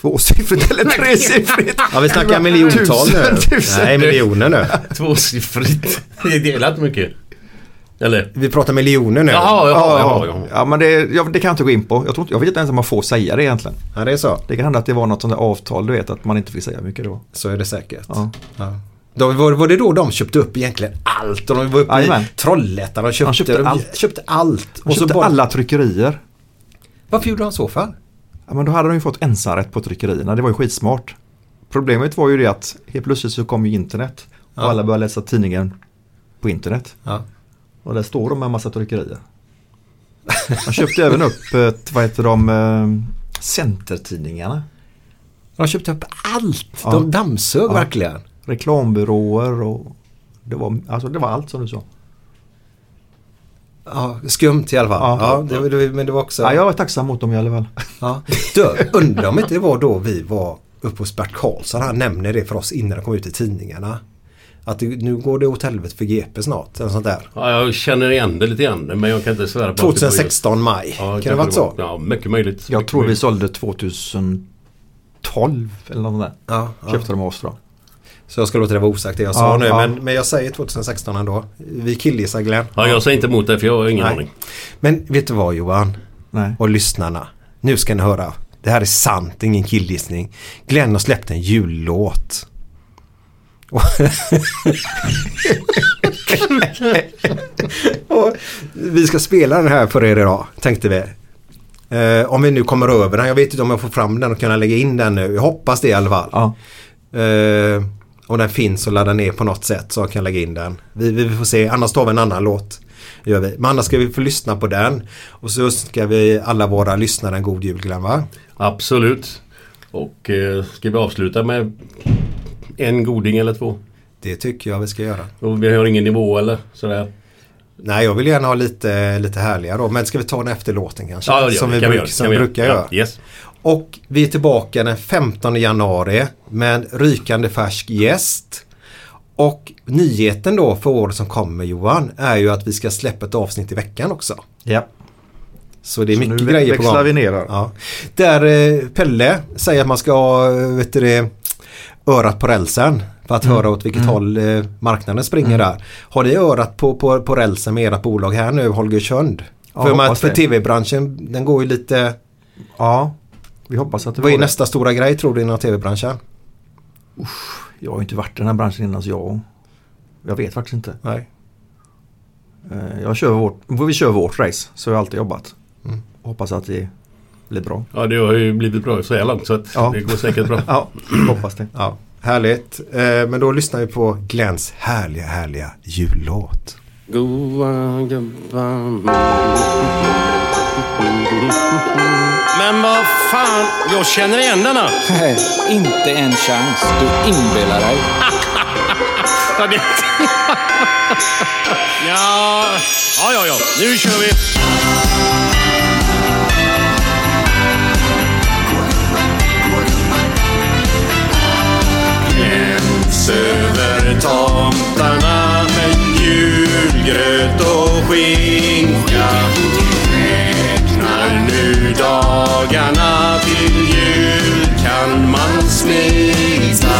D: Tvåsiffrigt eller tresiffrigt.
C: Ja, vi snackar miljontal nu.
D: Tusen, tusen.
C: Nej, miljoner nu.
I: (laughs) Tvåsiffrigt. Det är delat mycket. Eller?
C: Vi pratar miljoner nu.
I: Jaha, jaha, jaha. jaha.
D: Ja, men det, ja, det kan jag inte gå in på. Jag, tror, inte- jag vet inte ens om man får säga det egentligen.
C: Ja, det är så.
D: Det kan hända att det var något sånt där avtal, du vet, att man inte fick säga hur mycket det var.
C: Så är det säkert.
D: Ja.
C: Ja. De, var, var det då de köpte upp egentligen allt? Och de var uppe
D: Jajamän.
C: i Trollhättan och köpte,
D: De köpte allt.
C: köpte allt.
D: Och så
C: bara-
D: alla tryckerier.
C: Varför gjorde de så för?
D: Ja, men då hade de ju fått ensamrätt på tryckerierna, det var ju skitsmart. Problemet var ju det att helt plötsligt så kom ju internet och
C: Ja.
D: alla började läsa tidningen på internet.
C: Ja.
D: Och där står de med en massa tryckerier. De köpte även upp, eh, vad heter de, eh, Centertidningarna.
C: De köpte upp allt.
D: Ja.
C: De dammsög
D: Ja.
C: verkligen.
D: Reklambyråer och det var, alltså, det var allt som du sa.
C: Ja, skumt i alla fall. Ja.
D: Ja.
C: det, det, men det var också...
D: Ja, jag var tacksam mot dem i alla fall.
C: Ja. Du, undrar om inte det var då vi var uppe hos Bert Karlsson. Han nämner det för oss innan det kom ut i tidningarna. Att det, nu går det åt helvete för GP snart. Eller sånt där.
B: Ja, jag känner igen det lite grann men jag kan inte svära på att
D: typ.
B: det var just-
C: 2016 maj. kan det ha varit
B: kanske
C: så?
B: var- Ja, mycket möjligt.
D: Jag
B: Mycket
D: tror vi
B: möjligt.
D: sålde 2012 eller något sånt där.
C: Ja, ja.
D: Köpte de av oss då.
C: Så jag ska låta det vara osagt det jag sa nu. Men, men jag säger 2016 ändå. Vi killgissar Glenn.
B: Ja, jag säger inte emot det för jag har ingen
C: Nej.
B: aning.
C: Men vet du vad Johan? Och lyssnarna. Nu ska ni höra. Det här är sant, ingen killgissning. Glenn har släppt en jullåt. Och- (laughs) och vi ska spela den här för er idag, tänkte vi. Eh, om vi nu kommer över den. Jag vet inte om jag får fram den och kan lägga in den nu. Jag hoppas det i alla fall. Eh, om den finns och ladda ner på något sätt så jag kan lägga in den. Vi, vi får se, annars tar vi en annan låt. Gör vi. Men annars ska vi få lyssna på den. Och så önskar vi alla våra lyssnare en god jul Glenn va?
B: Absolut. Och eh, ska vi avsluta med en goding eller två?
C: Det tycker jag vi ska göra.
B: Och vi har ingen nivå eller sådär?
C: Nej jag vill gärna ha lite, lite härliga då. Men ska vi ta den efter låten kanske?
B: Ja, ja, det
C: som vi,
B: kan vi göra,
C: bruk, som
B: kan
C: vi
B: vi göra.
C: brukar
B: Ja,
C: göra.
B: yes.
C: Och vi är tillbaka den 15 januari med en rykande färsk gäst. Och nyheten då för året som kommer Johan är ju att vi ska släppa ett avsnitt i veckan också.
D: Ja.
C: Så det är mycket
D: nu vä-
C: grejer på gång.
D: växlar vi ner här.
C: Ja. Där eh, Pelle säger att man ska ha eh, vet du det, örat på rälsen. För
D: Mm.
C: att höra åt vilket håll eh, marknaden springer där. Har ni örat på, på, på rälsen med ert bolag här nu Holger Könd?
D: Ja,
C: för man,
D: hoppas
C: för
D: det.
C: tv-branschen den går ju lite...
D: Ja, vi hoppas att det
C: Vad
D: var
C: är
D: det.
C: nästa stora grej tror du inom tv-branschen?
D: Jag har ju inte varit i den här branschen innan så jag... Jag vet faktiskt inte.
C: Nej.
D: Eh, Jag kör vårt, vi kör vårt race, så har jag alltid jobbat. Hoppas att det blir bra.
B: Ja, det har ju blivit bra så här långt så att
D: Ja.
B: det går säkert
C: (laughs)
B: bra.
D: Ja, hoppas det.
C: Ja, härligt. Eh, men då lyssnar vi på Glens härliga, härliga jullåt.
I: Goa gubbar. Men vad fan, jag känner igen denna.
J: Nej, inte en chans. Du
I: (laughs)
J: inbillar dig.
I: Ja, ja, ja, ja. nu kör vi.
A: Gläns över tomtarna med julgröt och skinka. Räknar nu dagarna till jul kan man smita.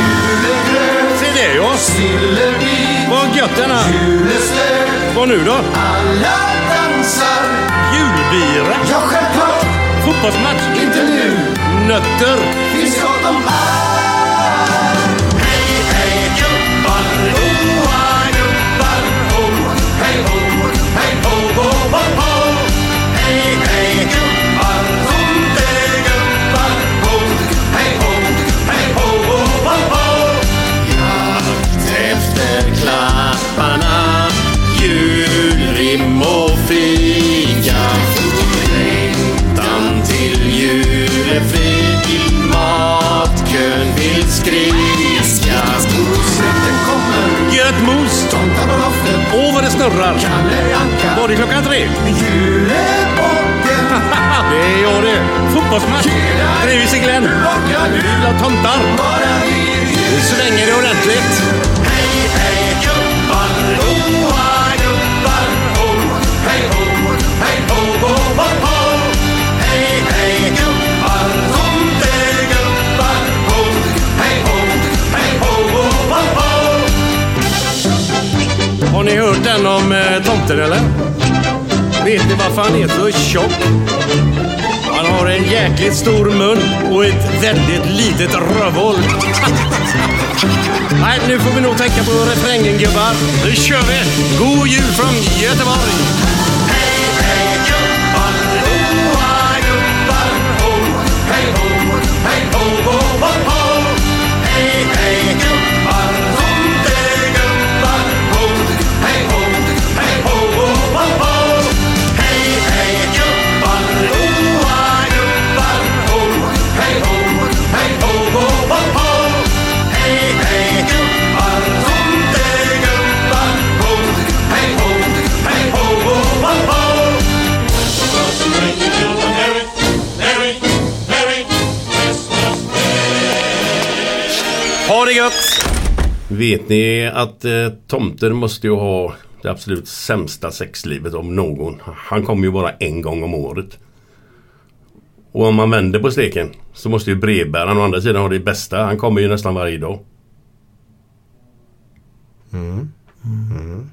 A: Julegröt,
I: det är jag.
A: Silleby,
I: Vad gött denna.
A: juleslöt.
I: Vad nu då?
A: Alla dansar.
I: Julbira.
A: Ja, självklart.
I: Fotbollsmatch.
A: Inte nu.
I: Nötter.
A: Finns gott om allt. Hej, hej, gubbar. Hoa, gubbar. Ho, hej, ho. Hej, ho, ho, ho, ho. Hej, hej, gubbar. Tomtegubbar. Ho, hej, ho. Hej, ho, ho, ho, ho. Jakt efter klapparna. Julrim och fika. Längtan till jul är fri i matkön vill skrika Släkten kommer
I: Göt mos.
A: Tomtar på loftet
I: Åh, vad det snurrar.
A: Kalle Anka
I: Var det klockan tre?
A: Julebocken
I: (laughs) Det är jag det. Fotbollsmatch. Trivs i Glenn. Gula tomtar. Nu svänger det ordentligt.
A: Hej hej gubbar Hoa gubbar ho Hej ho Hej ho ho ho ho Hej hej gubbar Tomtegubbar ho Hej ho Hej ho ho ho ho
I: Har ni hört den om eh, tomten eller? Vet ni varför han är så tjock? Han har en jäkligt stor mun och ett väldigt litet rövhål. Nej, nu får vi nog tänka på refrängen gubbar. Nu kör vi! God jul från Göteborg! Ha det gött!
B: Vet ni att eh, tomten måste ju ha det absolut sämsta sexlivet om någon. Han kommer ju bara en gång om året. Och om man vänder på steken så måste ju brevbäraren å andra sidan ha det bästa. Han kommer ju nästan varje dag.
C: Mm. Mm.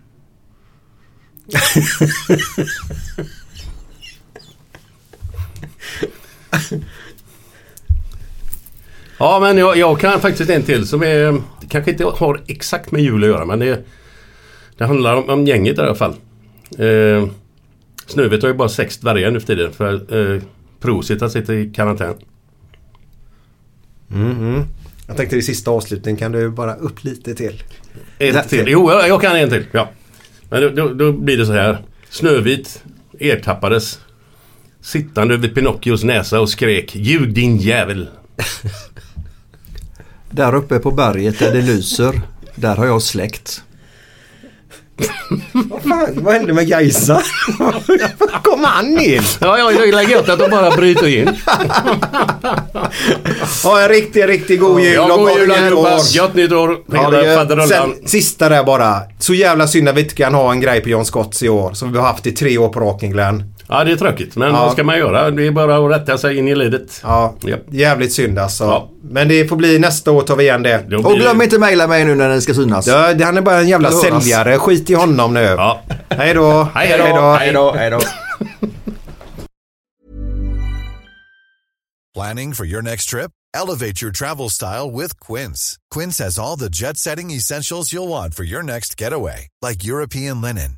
B: Ja men jag, jag kan faktiskt en till som är Kanske inte har exakt med jul att göra men det Det handlar om, om gänget i alla fall eh, Snövit har ju bara sex dvärgar nu för tiden för eh, Prosit han sitter i karantän
C: Mm, mm. Jag tänkte i sista avslutningen kan du bara upp lite till.
B: Ett till. Jo, jag, jag kan en till. Ja. Men då, då, då blir det så här. Snövit ertappades sittande vid Pinocchios näsa och skrek Ljug din jävel.
D: Där uppe på berget där det lyser, där har jag släkt.
C: Vad fan, vad hände med Gaisa? Var (laughs) kom han in?
B: Ja, ja, det är gött att de bara bryter
C: (laughs)
B: in.
C: Ha en riktigt, riktigt god jul
B: Ja,
C: och
B: god
C: gott
B: jul
C: nytt
B: allihopa.
C: år.
B: Gött nytt år.
C: Ja, det
B: Hela
C: gör-
B: faderullan.
C: Sen sista där bara. Så jävla synd att vi inte kan ha en grej på John Scotts i år som vi har haft i tre år på raken Glenn.
B: Ja, det är tråkigt. Men
C: Ja.
B: vad ska man göra? Det är bara att rätta sig in i ledet.
C: Ja, jävligt synd alltså. Men det får bli nästa år tar vi igen det.
D: Och glöm inte mejla mig nu när den ska synas.
C: Ja, det- han är bara en jävla
D: Eller höras.
C: säljare. Skit i honom nu. Ja. (laughs) Hej då.
D: Hej då.
K: Hej då, hej då.
L: (laughs) Planning for your next trip? Elevate your travel style with Quince. Quince has all the jet setting essentials you'll want for your next getaway, like European linen,